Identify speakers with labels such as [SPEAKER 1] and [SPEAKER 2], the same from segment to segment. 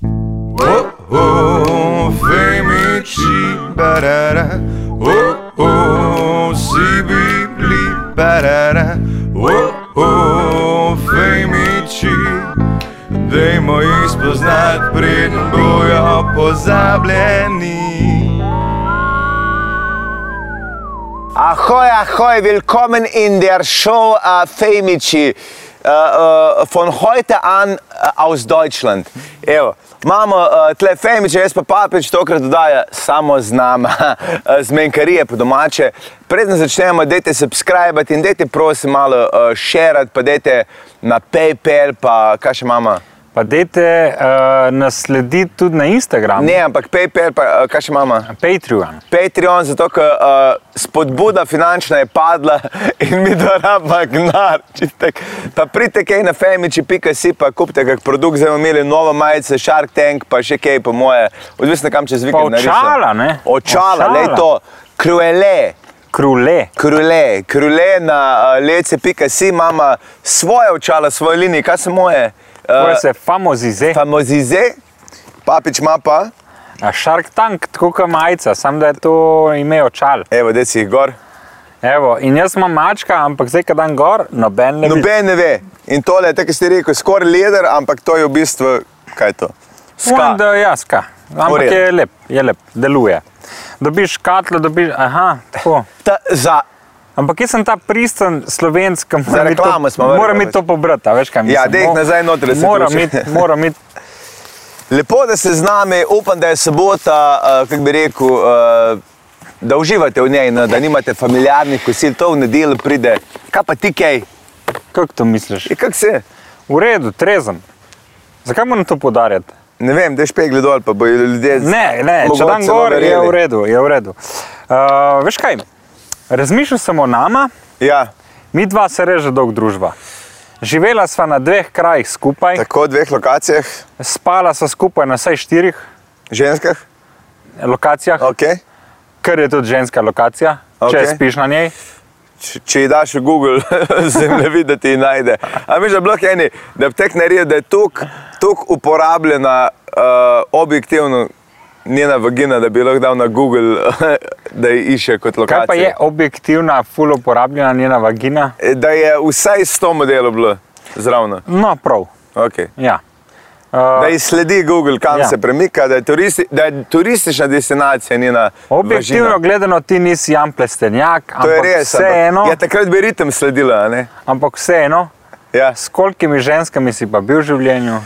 [SPEAKER 1] Oh, barara, oh oh, si bibli barara, oh oh, fejmiči, dajmo jih spoznat, preden bojo pozabljeni.
[SPEAKER 2] Ahoj, ahoj, willkommen in der Show äh, Femici. Äh, äh, von heute an äh, aus Deutschland. Evo, imamo uh, tle Femiče, jaz pa papič tokrat dodaja samo z nama, zmenkarije po domače. Preden začnemo, dajte subskrbati in dajte prosim malo uh, šerat, pa dajte na PayPal, pa kaj še mama?
[SPEAKER 3] Pa dajte uh, naslediti tudi na Instagramu,
[SPEAKER 2] Ne, ampak PayPal, pa uh, kaj še mama?
[SPEAKER 3] Patreon.
[SPEAKER 2] Patreon, zato ker uh, spodbuda finančna je padla in mi da rabimo gnar. čistek. Pa pridite kaj na femiči.si, pa kupite kak produkt, zdaj bomo imeli nove majice, Shark Tank, pa še kaj po moje, odvisno kam čez vikend.
[SPEAKER 3] Pa očala,
[SPEAKER 2] narišem.
[SPEAKER 3] ne?
[SPEAKER 2] Očala,
[SPEAKER 3] Očala.
[SPEAKER 2] le to, kruele.
[SPEAKER 3] Krule.
[SPEAKER 2] Krule, krule na uh, lece.si imamo svoje očala, svoje linije, kaj so moje?
[SPEAKER 3] To
[SPEAKER 2] Eh,
[SPEAKER 3] je se famozize.
[SPEAKER 2] famozize, papič ima pa,
[SPEAKER 3] A Shark Tank, tako kot majica, samo da je to ime očal.
[SPEAKER 2] evo, da si jih gor.
[SPEAKER 3] Evo, in jaz imam mačka, ampak zdaj, ko dan gor, noben ne vidi.
[SPEAKER 2] Noben ne ve. In tole je, tako ste rekel, skoraj leder, ampak to je v bistvu, kaj je to?
[SPEAKER 3] Moram,
[SPEAKER 2] Ska.
[SPEAKER 3] da je ska. Ampak
[SPEAKER 2] redu.
[SPEAKER 3] je lep, je lep, deluje. Dobiš katlo, dobiš, aha, tako.
[SPEAKER 2] Ta, za,
[SPEAKER 3] Ampak jaz sem ta pristen slovenc, ki mora mi
[SPEAKER 2] reklamo smo
[SPEAKER 3] to,
[SPEAKER 2] vrgli,
[SPEAKER 3] mora mi to pobrati, a veš kaj mislim.
[SPEAKER 2] Ja, daj jih
[SPEAKER 3] mo-
[SPEAKER 2] nazaj noter, da se
[SPEAKER 3] Moram
[SPEAKER 2] vključi.
[SPEAKER 3] iti, moram iti.
[SPEAKER 2] lepo, da ste z nami, upam, da je sobota, uh, kako bi rekel, uh, da uživate v njej, no, da nimate familiarnih kosil, to v nedeljo pride. Kaj pa ti kaj?
[SPEAKER 3] Kako to misliš?
[SPEAKER 2] Je, Kak se?
[SPEAKER 3] V redu, trezen. Zakaj moram to podarjati?
[SPEAKER 2] Ne vem, da špegli dol, pa bojo ljudje. z-
[SPEAKER 3] Ne, ne, če
[SPEAKER 2] mogoče
[SPEAKER 3] dan
[SPEAKER 2] celo
[SPEAKER 3] gor, je
[SPEAKER 2] verjeli.
[SPEAKER 3] v redu, je v redu. Uh, veš kaj, razmišljal sem o nama,
[SPEAKER 2] Ja,
[SPEAKER 3] mi dva se reže dolg družba. Živela sva na dveh krajih skupaj, tak.
[SPEAKER 2] tako v dveh lokacijah,
[SPEAKER 3] spala sva skupaj na vsaj štirih
[SPEAKER 2] ženskah,
[SPEAKER 3] lokacijah, okay.
[SPEAKER 2] okay.
[SPEAKER 3] kar je tudi ženska lokacija, okay.
[SPEAKER 2] Okej.
[SPEAKER 3] če spiš na njej.
[SPEAKER 2] Če- če ji daš v Google, zemljevid, da ti ji najde. Ampak že blok eni, da bi tek naredil, da je tako uporabljena uh, objektivno njena vagina, da bi jo lahko dal na Google, da ji išče kot
[SPEAKER 3] Kaj pa je
[SPEAKER 2] lokacija.
[SPEAKER 3] objektivna, full uporabljena njena vagina?
[SPEAKER 2] E, Da je vsaj 100 modelov bilo zraven.
[SPEAKER 3] No, prav.
[SPEAKER 2] Okay.
[SPEAKER 3] Ja.
[SPEAKER 2] Da ji sledi Google, kam ja.
[SPEAKER 3] Ja.
[SPEAKER 2] se premika, da je, turisti, da je turistična destinacija njena.
[SPEAKER 3] Objektivno
[SPEAKER 2] važina.
[SPEAKER 3] gledano, ti nisi Jan Plestenjak,
[SPEAKER 2] to je
[SPEAKER 3] ampak
[SPEAKER 2] res. ampak
[SPEAKER 3] vseeno,
[SPEAKER 2] Ja, takrat bi ritem sledila. a ne?
[SPEAKER 3] ampak vseeno,
[SPEAKER 2] Ja,
[SPEAKER 3] s kolikimi ženskami si pa bil v življenju?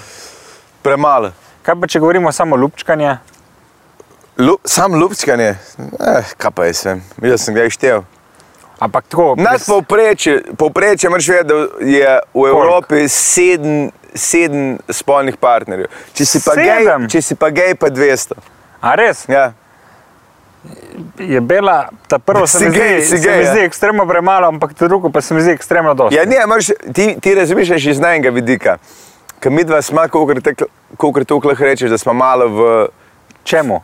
[SPEAKER 2] premalo.
[SPEAKER 3] Kaj pa če govorimo samo o lupčkanju?
[SPEAKER 2] Lu, sam lupčkanje, eh, kaj pa jaz vem, jaz sem ga ištev.
[SPEAKER 3] Ampak tako,
[SPEAKER 2] Nas
[SPEAKER 3] pres-
[SPEAKER 2] povprečje, povprečje moraš vedeti, da je v Evropi sedem, sedem spolnih partnerjev. Če si pa gej,
[SPEAKER 3] Sedem?
[SPEAKER 2] če si pa gej, pa 200.
[SPEAKER 3] a res
[SPEAKER 2] Ja.
[SPEAKER 3] je bila ta prva, se
[SPEAKER 2] Si
[SPEAKER 3] mi
[SPEAKER 2] gej,
[SPEAKER 3] zdi,
[SPEAKER 2] si
[SPEAKER 3] se
[SPEAKER 2] gej,
[SPEAKER 3] mi
[SPEAKER 2] ja.
[SPEAKER 3] zdi ekstremno premalo, ampak ta druga pa se mi zdi ekstremno dosti.
[SPEAKER 2] Ja, ne, moraš, ti, ti razmišljaš iz najmenjega vidika. Ker mi dva smo, kolikor tu lahko rečeš, da smo malo v
[SPEAKER 3] Čemu?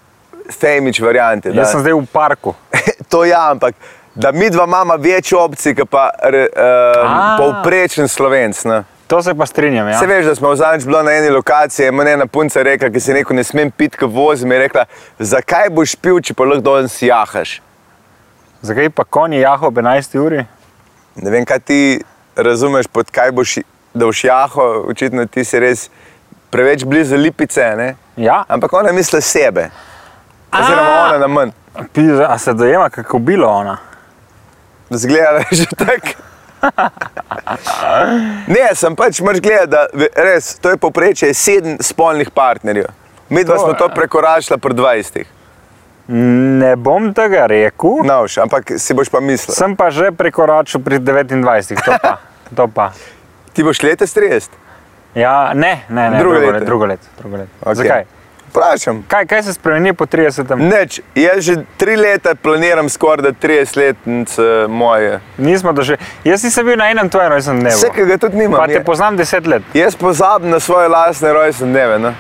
[SPEAKER 2] femič varianti. da-
[SPEAKER 3] Jaz sem zdaj v parku.
[SPEAKER 2] to ja, ampak da mi dva imamo več opcij, kot pa
[SPEAKER 3] A. Ah.
[SPEAKER 2] uh, povprečen slovenc. Ne?
[SPEAKER 3] To se pa strinjam. Ja.
[SPEAKER 2] Se veš, da smo zadnjič bili na eni lokaciji, in meni je ena punca rekla, ki si rekel, ne smem piti, ko vozim. Je rekla, zakaj boš pil, če pa lahko danes jahaš?
[SPEAKER 3] Zakaj pa konji jaho ob 11 uri?
[SPEAKER 2] Ne vem, kaj ti razumeš, pod kaj boš, da boš jaho, očitno ti si res preveč blizu lipice, ne?
[SPEAKER 3] Ja,
[SPEAKER 2] Ampak ona misli sebe, oziroma
[SPEAKER 3] A.
[SPEAKER 2] ona na meni.
[SPEAKER 3] Pizda, a se dojema, kako bilo ona.
[SPEAKER 2] Zgleda že tako. Ne, sem pač mrš gledal, da ve- res, to je poprečje je sedem spolnih partnerjev. Mi dva
[SPEAKER 3] To
[SPEAKER 2] smo to
[SPEAKER 3] je.
[SPEAKER 2] prekoračila pri 20.
[SPEAKER 3] Ne bom tega rekel,
[SPEAKER 2] No, še, ampak si boš pa mislil.
[SPEAKER 3] sem pa že prekoračil pri 29. To pa. To pa.
[SPEAKER 2] Ti boš leta 30.
[SPEAKER 3] Ja, ne, ne, ne
[SPEAKER 2] Drugo
[SPEAKER 3] drugo,
[SPEAKER 2] leto.
[SPEAKER 3] leto. drugo leto. Drugo leto. Okay. Zakaj?
[SPEAKER 2] Vprašam.
[SPEAKER 3] Kaj, kaj se spremeni po 30?
[SPEAKER 2] Neč, jaz že tri leta planiram skoraj da 30 letnice moje.
[SPEAKER 3] Nismo doživeli. Jaz nisem bil na enem tvojem rojstnem dnevu.
[SPEAKER 2] Vsekega tudi nimam.
[SPEAKER 3] Pa te
[SPEAKER 2] je-
[SPEAKER 3] poznam deset let.
[SPEAKER 2] Jaz pozabim na svoje lastne rojstne dneve. no. Ne?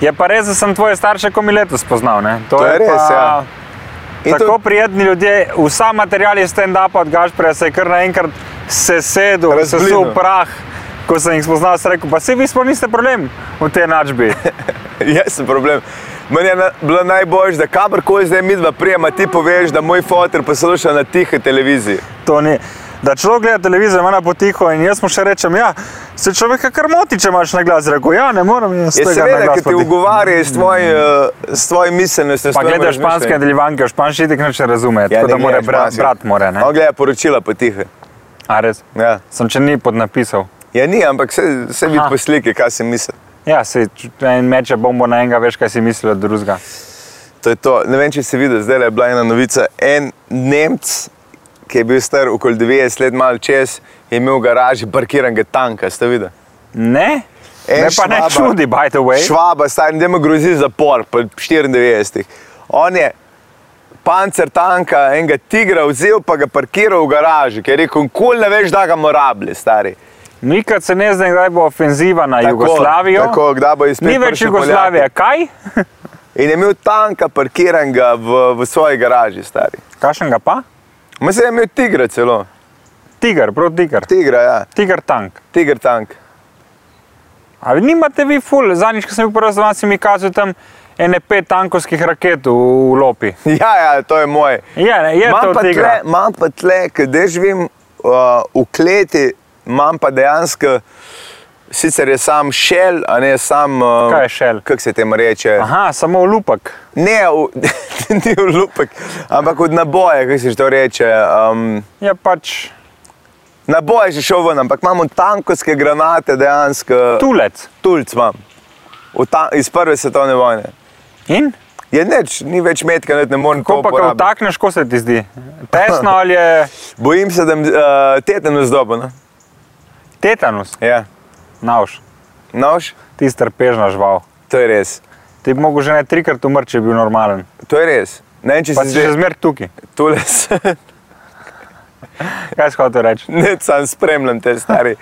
[SPEAKER 3] Je pa res, da sem tvoje starše komi letos poznal. Ne? To,
[SPEAKER 2] je res,
[SPEAKER 3] pa
[SPEAKER 2] ja. In
[SPEAKER 3] Tako
[SPEAKER 2] to-
[SPEAKER 3] to... prijetni ljudje, vsa material iz stand-upa od Gašprija se je kar naenkrat sesedel,
[SPEAKER 2] Razblinil.
[SPEAKER 3] sesul prah. Ko sem jih spoznal, sem rekel, pa se vi sploh niste problem v tej enačbi.
[SPEAKER 2] Jaz sem problem. Meni je na, bilo najbolj, da kakorkoli zdaj mi dva prijema, ti poveš, da moj fotor posluša na tihi televiziji.
[SPEAKER 3] To ni. Da človek gleda televizijo, ima potiho in jaz mu še rečem, ja, se človek kar moti, če imaš na glas. Rekel, ja, ne morem jaz
[SPEAKER 2] Je
[SPEAKER 3] tega na
[SPEAKER 2] seveda,
[SPEAKER 3] glas
[SPEAKER 2] ki ti
[SPEAKER 3] potih-
[SPEAKER 2] ugovarja s tvoj- eh, s tvojim miselnostjo. s
[SPEAKER 3] Pa
[SPEAKER 2] tvojim
[SPEAKER 3] gledaš
[SPEAKER 2] razmišljanjem.
[SPEAKER 3] španske nadaljevanke, španski tek neče razume, ja, tako
[SPEAKER 2] ne
[SPEAKER 3] da mora
[SPEAKER 2] gledaš
[SPEAKER 3] brat,
[SPEAKER 2] španske.
[SPEAKER 3] brat more, ne?
[SPEAKER 2] On gleda poročila potihe.
[SPEAKER 3] A res?
[SPEAKER 2] Ja.
[SPEAKER 3] Sem če ni podnapisal.
[SPEAKER 2] ja, ni, ampak se, se vidi
[SPEAKER 3] Aha.
[SPEAKER 2] po sliki, kaj si misli.
[SPEAKER 3] Ja, si č- en meče bombo na enega, veš, kaj si mislil od drugega.
[SPEAKER 2] To je to. Ne vem, če si videl, zdaj je bila ena novica. En Nemc, ki je bil star okoli 90 let, malo čez, je imel v garaži parkiranega tanka, ste videli.
[SPEAKER 3] Ne?
[SPEAKER 2] En
[SPEAKER 3] Ne pa ne
[SPEAKER 2] E, švaba.
[SPEAKER 3] čudi, by the way.
[SPEAKER 2] Švaba, starim, da mu grozi zapor, po 94. On je pancer tanka, enega tigra vzel, pa ga parkiral v garaži, ker je rekel, kul ne veš, da ga morabli, stari.
[SPEAKER 3] Nikad se ne zna, kdaj bo ofenziva na tako, Jugoslavijo.
[SPEAKER 2] Tako, kdaj bo izpil.
[SPEAKER 3] Ni več Jugoslavije, kaj?
[SPEAKER 2] In je imel tanka parkiranega v, v svoji garaži, stari.
[SPEAKER 3] Kakšen ga pa?
[SPEAKER 2] Mislim, da je imel tigra celo.
[SPEAKER 3] Tiger, prav tiger.
[SPEAKER 2] Tigra, ja.
[SPEAKER 3] Tiger tank.
[SPEAKER 2] Tiger tank.
[SPEAKER 3] A vi nimate vi ful, zadnjič, ko sem bil prvi z vami, si mi kazal tam ene pet tankovskih raket v, v lopi.
[SPEAKER 2] Ja, ja, to je moj.
[SPEAKER 3] Je, ne, je
[SPEAKER 2] Imam
[SPEAKER 3] to
[SPEAKER 2] pa
[SPEAKER 3] tigra.
[SPEAKER 2] tle- Imam pa tle, kde živim uh, v kleti, imam pa dejansko, sicer je sam šel, a ne sam. Uh,
[SPEAKER 3] Kaj je šel?
[SPEAKER 2] Kako se temu reče?
[SPEAKER 3] Aha, samo v lupek.
[SPEAKER 2] Ne, v, ni v lupek, ampak od naboja, kako se že to reče. Um,
[SPEAKER 3] Je pač
[SPEAKER 2] naboj je že šel ven, ampak imamo tankovske granate dejansko.
[SPEAKER 3] tulec.
[SPEAKER 2] Tulc imam, V ta, iz prve svetovne vojne.
[SPEAKER 3] In?
[SPEAKER 2] Je neč, ni več metka, net ne morem
[SPEAKER 3] Ko pa ga
[SPEAKER 2] uporabiti.
[SPEAKER 3] vtakneš, ko se ti zdi? Tesno ali je
[SPEAKER 2] Bojim se, da uh, teden zdoben.
[SPEAKER 3] tetanus?
[SPEAKER 2] Ja.
[SPEAKER 3] Naoš,
[SPEAKER 2] Nož,
[SPEAKER 3] ti strpežna žval.
[SPEAKER 2] to je res.
[SPEAKER 3] Ti bi mogel že ne trikrat umreti, če bi bil normalen.
[SPEAKER 2] To je res. Ne vem, če
[SPEAKER 3] Pa
[SPEAKER 2] si
[SPEAKER 3] si še
[SPEAKER 2] zdaj
[SPEAKER 3] zmer tukaj.
[SPEAKER 2] tole, s-
[SPEAKER 3] Kaj si hotel reči?
[SPEAKER 2] ne sam spremljam te stari.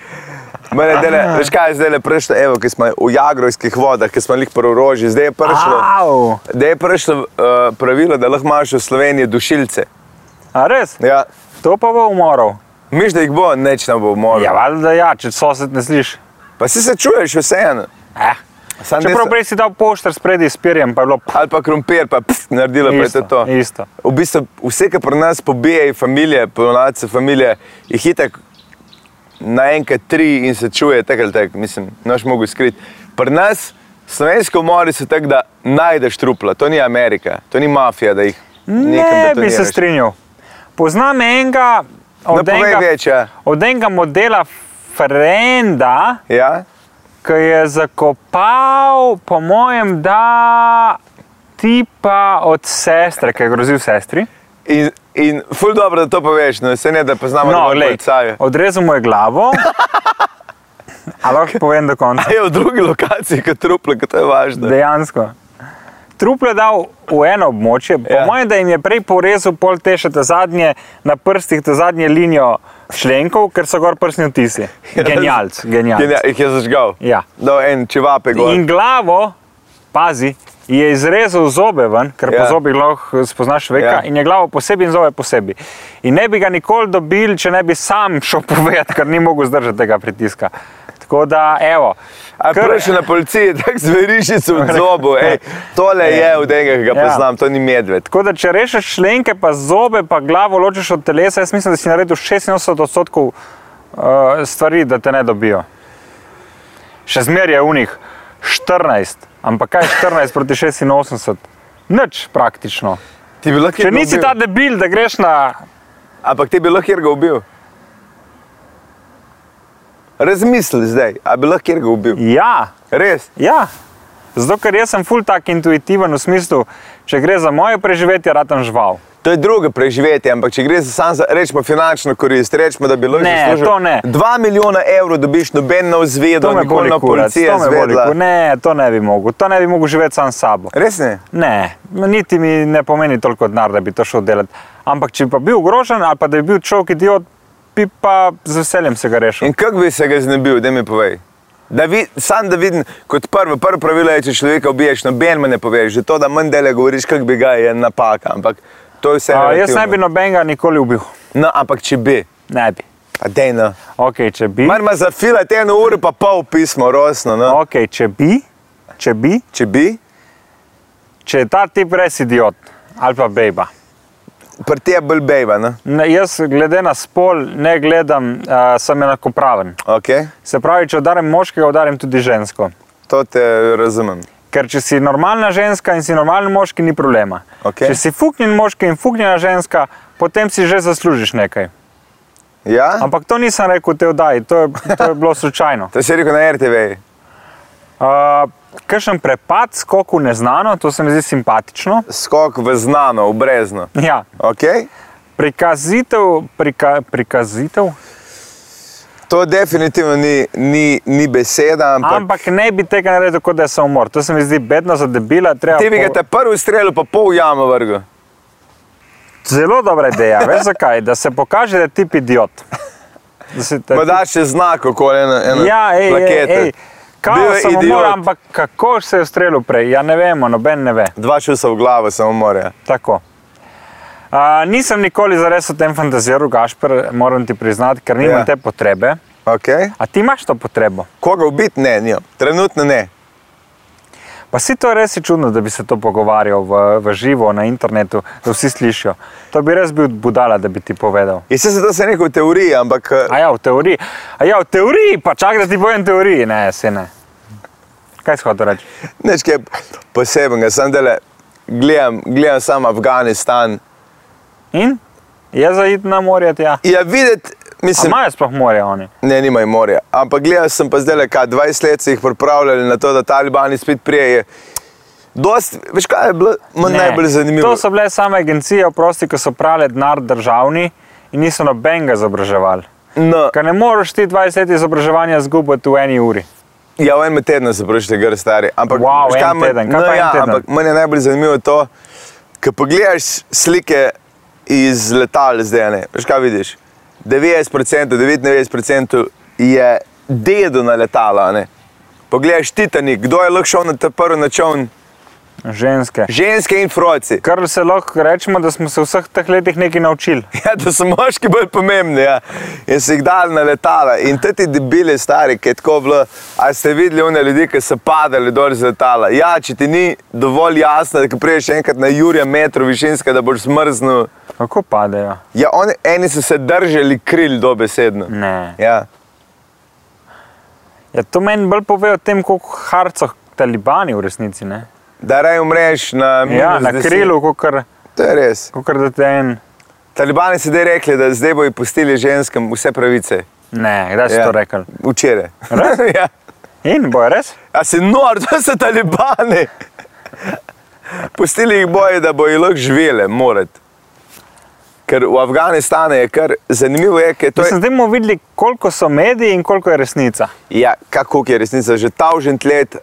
[SPEAKER 2] Mene dele, veš kaj je zdaj prišlo, evo, ki smo v Jagrojskih vodah, ki smo jih prorožili, zdaj je prišlo,
[SPEAKER 3] Au!
[SPEAKER 2] zdaj je prišlo uh, pravilo, da lahko imaš v Sloveniji dušilce.
[SPEAKER 3] A res?
[SPEAKER 2] Ja.
[SPEAKER 3] To pa bo umoril.
[SPEAKER 2] Miš, da jih bo, neč ne bo
[SPEAKER 3] Ja,
[SPEAKER 2] umoril.
[SPEAKER 3] valjda ja, če sosed ne sliši.
[SPEAKER 2] Pa si se čuješ vseeno.
[SPEAKER 3] Eh.
[SPEAKER 2] Sam
[SPEAKER 3] Čeprav
[SPEAKER 2] desno-
[SPEAKER 3] prej si dal pošter spredi s perjem, pa je bilo pff,
[SPEAKER 2] Ali pa krompir, pa pst, naredila pa je to.
[SPEAKER 3] isto,
[SPEAKER 2] to.
[SPEAKER 3] isto.
[SPEAKER 2] V bistvu vse, kar pri nas pobije, familije, ponovnice familije, je hitek naenkrat tri in se čuje, tako ali tako, mislim, noš mogo skriti. Pri nas, slovensko more se tako, da najdeš trupla, to ni Amerika, to ni mafija, da jih nekam
[SPEAKER 3] Ne bi se
[SPEAKER 2] betoniraš.
[SPEAKER 3] strinjal. Poznam enega
[SPEAKER 2] No,
[SPEAKER 3] od,
[SPEAKER 2] povej
[SPEAKER 3] enega,
[SPEAKER 2] več, ja.
[SPEAKER 3] od enega modela Frenda,
[SPEAKER 2] Ja?
[SPEAKER 3] ki je zakopal, po mojem, da tipa od sestre, ki je grozil sestri.
[SPEAKER 2] In, in ful dobro, da to poveš, no se ne, da poznamo
[SPEAKER 3] No,
[SPEAKER 2] dovolj
[SPEAKER 3] glej,
[SPEAKER 2] policajev.
[SPEAKER 3] odrezal mu je glavo. Ali lahko povem do konca?
[SPEAKER 2] Je v drugi lokaciji kot trupla, kot to je važno.
[SPEAKER 3] Dejansko. Truple dal v eno območje, po
[SPEAKER 2] Ja.
[SPEAKER 3] ja. mojem, da jim je prej porezal pol te še te zadnje, na prstih te zadnje linijo šlenkov, ker so gor prstni otisi.
[SPEAKER 2] Ja,
[SPEAKER 3] Genijalc,
[SPEAKER 2] Genija,
[SPEAKER 3] genijalc.
[SPEAKER 2] jih je zažgal.
[SPEAKER 3] Ja.
[SPEAKER 2] No, en čevape gor.
[SPEAKER 3] In glavo, pazi, je izrezal zobe ven, ker
[SPEAKER 2] Ja.
[SPEAKER 3] ja. po zobih lahko spoznaš človeka,
[SPEAKER 2] Ja.
[SPEAKER 3] ja. in je glavo posebej in zobe posebej. In ne bi ga nikoli dobil, če ne bi sam šel povedati, ker ni mogel zdržati tega pritiska. Tako da, evo.
[SPEAKER 2] A
[SPEAKER 3] kar-
[SPEAKER 2] prši na policiji, tako zverišice v zobu. Ej, tole je od enega, ki ga
[SPEAKER 3] Ja.
[SPEAKER 2] poznam, to ni medved.
[SPEAKER 3] Tako da, če rešeš šlenke, pa zobe, pa glavo ločiš od telesa, jaz mislim, da si naredil 86 odstotkov uh, stvari, da te ne dobijo. Še zmeraj je unih 14, ampak kaj je 14 proti 86? Nič praktično.
[SPEAKER 2] Ti bi lahko
[SPEAKER 3] Če
[SPEAKER 2] Irga
[SPEAKER 3] nisi
[SPEAKER 2] ubil.
[SPEAKER 3] ta debil, da greš na.
[SPEAKER 2] Ampak ti bi lahko Irga ubil. Razmisli zdaj, a bi lahko Irga ubil.
[SPEAKER 3] Ja,
[SPEAKER 2] Res.
[SPEAKER 3] ja. Zato, ker jaz sem full tak intuitiven v smislu, če gre za moje preživetje, raten žival.
[SPEAKER 2] To je drugo preživetje, ampak če gre za sam, za- rečemo finančno korist, rečemo, da bi lahko
[SPEAKER 3] Ne,
[SPEAKER 2] zaslužil
[SPEAKER 3] to ne.
[SPEAKER 2] 2 milijona evrov dobiš, noben ne
[SPEAKER 3] To
[SPEAKER 2] vzvedo,
[SPEAKER 3] me
[SPEAKER 2] nikoli
[SPEAKER 3] boli,
[SPEAKER 2] na
[SPEAKER 3] kurac,
[SPEAKER 2] policije
[SPEAKER 3] to me boli.
[SPEAKER 2] zvedla.
[SPEAKER 3] kur- Ne, to ne bi mogel, to ne bi mogel živeti sam s sabo.
[SPEAKER 2] Res ne?
[SPEAKER 3] Ne, no, niti mi ne pomeni toliko denarja, da bi to šel delati. Ampak če bi pa bil ogrožen ali pa da bi bil človek idiot, bi pa z veseljem se ga rešil.
[SPEAKER 2] In kako bi se ga znebil, da mi povej? Da vi, sam da vidim, kot prvo, prvo pravilo je, če človeka ubiješ, noben me ne poveš. Že to, da manj dele govoriš, kako bi ga, je napaka. Ampak to je vse.
[SPEAKER 3] A, jaz
[SPEAKER 2] relativno.
[SPEAKER 3] ne bi nobenega nikoli ubil.
[SPEAKER 2] No, ampak če bi,
[SPEAKER 3] Ne bi.
[SPEAKER 2] pa dejno.
[SPEAKER 3] Ok, če bi.
[SPEAKER 2] Mar ima za fila te eno uro, pa pol pismo, rosno. No.
[SPEAKER 3] Ok, če bi. če bi,
[SPEAKER 2] Če bi,
[SPEAKER 3] če je ta tip res idiot ali pa bejba.
[SPEAKER 2] pri tebi bolj no. bejva, ne?
[SPEAKER 3] Ne, jaz, glede na spol, ne gledam, uh, sem enakopraven.
[SPEAKER 2] Okay.
[SPEAKER 3] Se pravi, če udarim moškega, udarim tudi žensko.
[SPEAKER 2] To te razumem.
[SPEAKER 3] Ker če si normalna ženska in si normalen moški, ni problema.
[SPEAKER 2] Okej.
[SPEAKER 3] Če si fuknjen moški in fuknjena ženska, potem si že zaslužiš nekaj.
[SPEAKER 2] Ja?
[SPEAKER 3] Ampak to nisem rekel v tej oddaji, to je, to je bilo slučajno.
[SPEAKER 2] To si rekel na RTV.
[SPEAKER 3] Uh, Kršen prepad, skok v neznano, to se mi zdi simpatično.
[SPEAKER 2] Skok v znano, v brezno.
[SPEAKER 3] Ja.
[SPEAKER 2] Okay?
[SPEAKER 3] Prikazitev, prika, prikazitev,
[SPEAKER 2] To definitivno ni, ni, ni beseda, ampak, ampak
[SPEAKER 3] ampak ne bi tega naredil, kot da je samomor. To se mi zdi bedno za debila. treba
[SPEAKER 2] ti bi ga
[SPEAKER 3] po-
[SPEAKER 2] ta prvi strelil, pa pol jamo vrgel.
[SPEAKER 3] Zelo dobra ideja, veš zakaj? Da se pokaže, da je ti idiot. Da si, da
[SPEAKER 2] Pa daš še znak okoli ene, ene
[SPEAKER 3] ja, ej, ej,
[SPEAKER 2] plakete.
[SPEAKER 3] ej.
[SPEAKER 2] Bil
[SPEAKER 3] Kao
[SPEAKER 2] je
[SPEAKER 3] samo
[SPEAKER 2] idiot.
[SPEAKER 3] mora, ampak kako se je strelil prej, ja ne vemo, noben ne ve.
[SPEAKER 2] Dva šusa v glavo samo more.
[SPEAKER 3] Tako. A, nisem nikoli zares o tem fantaziral, Gašpr, moram ti priznati, ker nimam
[SPEAKER 2] Ja.
[SPEAKER 3] ja. te potrebe.
[SPEAKER 2] Okay?
[SPEAKER 3] A ti imaš to potrebo?
[SPEAKER 2] Koga ubiti ne, njo. trenutno ne.
[SPEAKER 3] Pa si to res je čudno, da bi se to pogovarjal v, v živo na internetu, da vsi slišijo. To bi res bil budala, da bi ti povedal.
[SPEAKER 2] In se to sem rekel v teoriji, ampak eh,
[SPEAKER 3] A ja, v teoriji. A ja, v teoriji, pa čakaj, da ti povem teoriji. Ne, se ne. Kaj si hotel reči?
[SPEAKER 2] nič kaj posebnega, sem dele, gledam, gledam sam Afganistan.
[SPEAKER 3] In? Je za id na morje tja.
[SPEAKER 2] Ja, videti,
[SPEAKER 3] Se
[SPEAKER 2] mislim,
[SPEAKER 3] imajo sploh morje oni.
[SPEAKER 2] ne, nimajo morja. Ampak gledal sem pa zdaj, kaj 20 let se jih pripravljali na to, da talibani spet prijejo. Dost, veš kaj je bilo meni
[SPEAKER 3] Ne.
[SPEAKER 2] najbolj zanimivo?
[SPEAKER 3] To so bile same agencije, oprosti, ki so prale denar državni in niso nobenega izobraževali.
[SPEAKER 2] No,
[SPEAKER 3] Ker ne moreš ti 20 let izobraževanja zgubiti v eni uri.
[SPEAKER 2] ja, v enem tednu se prošli, gre stari. Ampak,
[SPEAKER 3] Wow,
[SPEAKER 2] veš kaj
[SPEAKER 3] en
[SPEAKER 2] me-
[SPEAKER 3] teden, kaj
[SPEAKER 2] no,
[SPEAKER 3] pa en
[SPEAKER 2] ja,
[SPEAKER 3] teden?
[SPEAKER 2] ampak meni je najbolj zanimivo to, ko pogledaš slike iz letal zdaj, a ne, veš kaj vidiš? 90%, 99% je dedo na letala. a ne. Pogledaš Titanik, kdo je lahko šel na ta prvi načon?
[SPEAKER 3] Ženske.
[SPEAKER 2] Ženske in froci.
[SPEAKER 3] Kar se lahko rečemo, da smo se v vseh teh letih nekaj naučili.
[SPEAKER 2] Ja, da so moški bolj pomembni. Ja. In si jih dal na letala. In te ti debeli stari, ki je tako bilo, a ste videli one ljudi, ki so padali dol z letala. Ja, če ti ni dovolj jasno, da ko priješ enkrat na Jurija metru višinska, da boš smrznil.
[SPEAKER 3] Kako padejo?
[SPEAKER 2] Ja, oni, eni so se držali kril dobesedno.
[SPEAKER 3] Ne.
[SPEAKER 2] Ja.
[SPEAKER 3] Ja, to meni bolj pove o tem, koliko harcov talibani v resnici. Ne?
[SPEAKER 2] Da raje umreš na,
[SPEAKER 3] Ja,
[SPEAKER 2] minus
[SPEAKER 3] na
[SPEAKER 2] 10.
[SPEAKER 3] krilu, kot
[SPEAKER 2] To je res.
[SPEAKER 3] kar da te en.
[SPEAKER 2] Talibani so zdaj rekli, da zdaj bojo pustili ženskam vse pravice.
[SPEAKER 3] Ne, kdaj si ja. to rekel?
[SPEAKER 2] Včeraj. ja.
[SPEAKER 3] In boje res?
[SPEAKER 2] A si nor, to so talibani. Pustili jih boje, da bojo lahko živele, morate. Ker v Afganistanu je kar zanimivo, je, ker to je.
[SPEAKER 3] Mislim, zdaj bomo videli, koliko so mediji in koliko je resnica.
[SPEAKER 2] Ja, kako je resnica, že tavžent let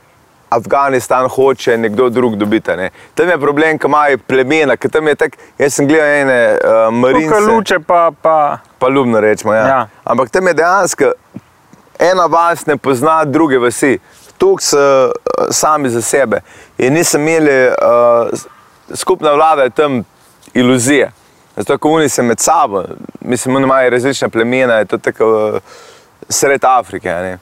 [SPEAKER 2] Afganistan hoče nekdo drug dobiti. a Ne? Tam je problem, ko imajo plemena, ker tam je tako, jaz sem gledal ene uh, marine.
[SPEAKER 3] Tukaj luče pa, pa
[SPEAKER 2] palubno rečemo. Ja. Ja.
[SPEAKER 3] Ja.
[SPEAKER 2] Ampak tam je dejansko ena vas ne pozna druge vasi, tu so eh, sami za sebe. In niso imeli uh, skupna vlada je tam iluzije. Zato, ko oni se med sabo, mislim, oni imajo različna plemena, je to tako eh, sred Afrike. a ne.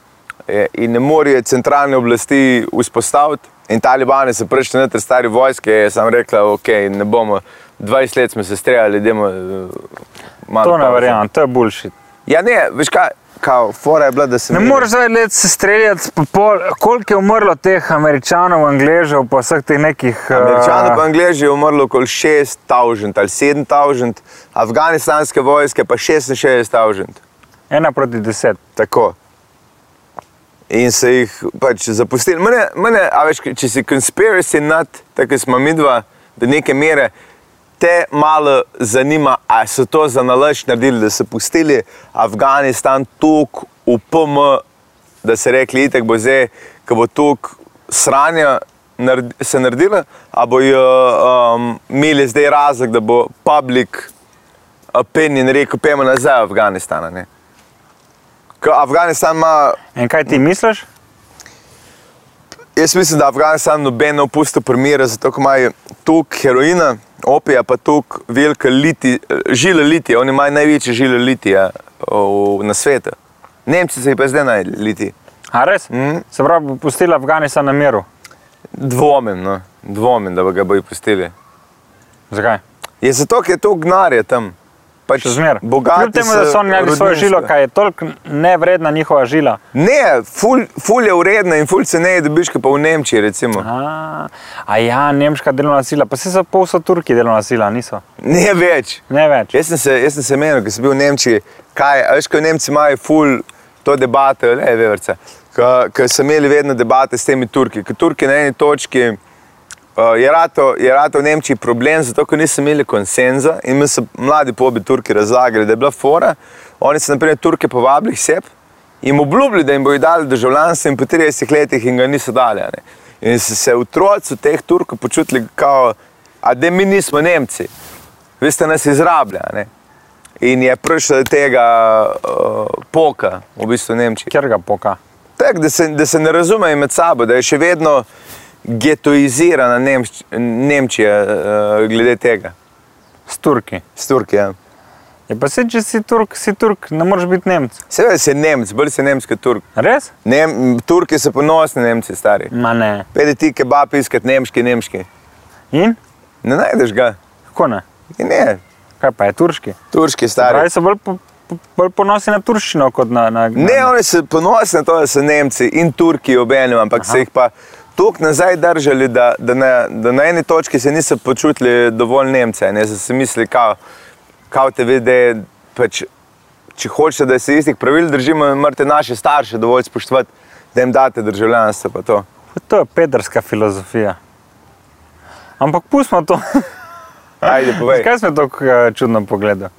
[SPEAKER 2] E, In ne morejo centralne oblasti vzpostaviti. In talibani so prišli na te stare vojske, je sam rekla, ok, ne bomo, 20 let smo se streljali, idemo eh, malo.
[SPEAKER 3] to ne
[SPEAKER 2] pauze."
[SPEAKER 3] verjamem, to je bullshit.
[SPEAKER 2] Ja, ne, veš kaj, kao, fora je bila, da se
[SPEAKER 3] Ne moreš zdaj let se streljati, pa pol, koliko je umrlo teh američanov, angležev, pa vseh teh nekih. eh,
[SPEAKER 2] Američani pa Angleži je umrlo okoli 6000 ali 7000, afganistanske vojske pa 66000.
[SPEAKER 3] Ena proti deset.
[SPEAKER 2] Tako. In se jih pač zapustili. Mene, mene, a veš, če si konspiracy nad, tako kot smo mi dva, do neke mere, te malo zanima, ali so to za nalaž naredili, da so pustili Afganistan tok v PM, da se rekli, itek bo zdaj, ko bo tok sranja nared, se naredila, a bojo um, imeli zdaj razlog, da bo public opinion rekel, pojmo nazaj v Afganistan. a Ne? Ko Afganistan ima,
[SPEAKER 3] In kaj ti misliš?
[SPEAKER 2] jaz mislim, da Afganistan noben ne opusti primera, zato ker imajo tok heroina, opija, pa tok velike liti, žile litija, oni imajo največje žile litija o, na svetu. Nemci so jih pa zdaj najdli liti.
[SPEAKER 3] A res? Mm. Se pravi, bo pustila Afganistan na miru.
[SPEAKER 2] Dvomim, no. dvomim, da bi ga bojo pustili.
[SPEAKER 3] Zakaj?
[SPEAKER 2] Je zato, ker je to gnare tam. Pač
[SPEAKER 3] Še zmeraj.
[SPEAKER 2] Bogati
[SPEAKER 3] Kljub temu, da
[SPEAKER 2] se
[SPEAKER 3] so oni imeli svojo
[SPEAKER 2] rodinstva.
[SPEAKER 3] žilo, kaj je toliko nevredna njihova žila.
[SPEAKER 2] Ne, ful, ful je uredna in ful ceneje dobiš, kot pa v Nemčiji. Recimo.
[SPEAKER 3] A, a ja, nemška delovna sila, pa se so pol so Turki delovna sila, niso.
[SPEAKER 2] Ne več.
[SPEAKER 3] Ne več.
[SPEAKER 2] Jaz sem se, jaz sem se menil, ko sem bil v Nemčiji, kaj, a veš, ko Nemci imajo ful to debato, le veverce, ker so imeli vedno debate s temi Turki, ker Turki na eni točki uh, je rato, je rato v Nemčiji problem, zato ker niso imeli konsenza in mi so mladi pobi Turki razlagali, da je bila fora, oni so naprimer Turke povabili k sebi, jim obljubili, da jim bodo dali državljanstvo in po 30 letih jim ga niso dali. a ne. In so se otroci teh Turkov počutili kao, a da mi nismo Nemci, vi ste nas izrabljali. a ne. In je prišlo do tega uh, poka, v bistvu v Nemčiji.
[SPEAKER 3] Kjer ga poka?
[SPEAKER 2] Tak, da, se, da se ne razumejo med sabo, da je še vedno getoizirana Nemč, Nemčija, uh, glede tega,
[SPEAKER 3] S Turki.
[SPEAKER 2] s Turkijo. ja.
[SPEAKER 3] Je pa se, če si Turk, si Turk, ne moreš biti Nemc.
[SPEAKER 2] Seveda si Nemc, bolj si Nemc kot Turk.
[SPEAKER 3] Res?
[SPEAKER 2] Nem, Turki so ponosni Nemci, stari.
[SPEAKER 3] Ma ne.
[SPEAKER 2] Pede ti kebab iskati nemški, nemški.
[SPEAKER 3] In?
[SPEAKER 2] Ne najdeš ga.
[SPEAKER 3] Kako ne?
[SPEAKER 2] In ne,
[SPEAKER 3] Kaj pa je turški?
[SPEAKER 2] turški stari.
[SPEAKER 3] Pravi so bolj, po, po- bolj ponosni na turščino kot na. na
[SPEAKER 2] Ne, oni so ponosni na no, to, da so Nemci in Turki obenem, ampak Aha. se jih pa toliko nazaj držali, da, da, na, da na eni točki se niso počutili dovolj Nemce. Ne? So si mislili, kao, kao te vidi, pač, če hočeš, da se istih pravil držimo, morate naše starše dovolj spoštovati, da jim date državljanstvo. pa to.
[SPEAKER 3] na, to je pederska filozofija. Ampak pustimo to.
[SPEAKER 2] Ajde, povej.
[SPEAKER 3] Kaj smo tako eh, čudno pogledali?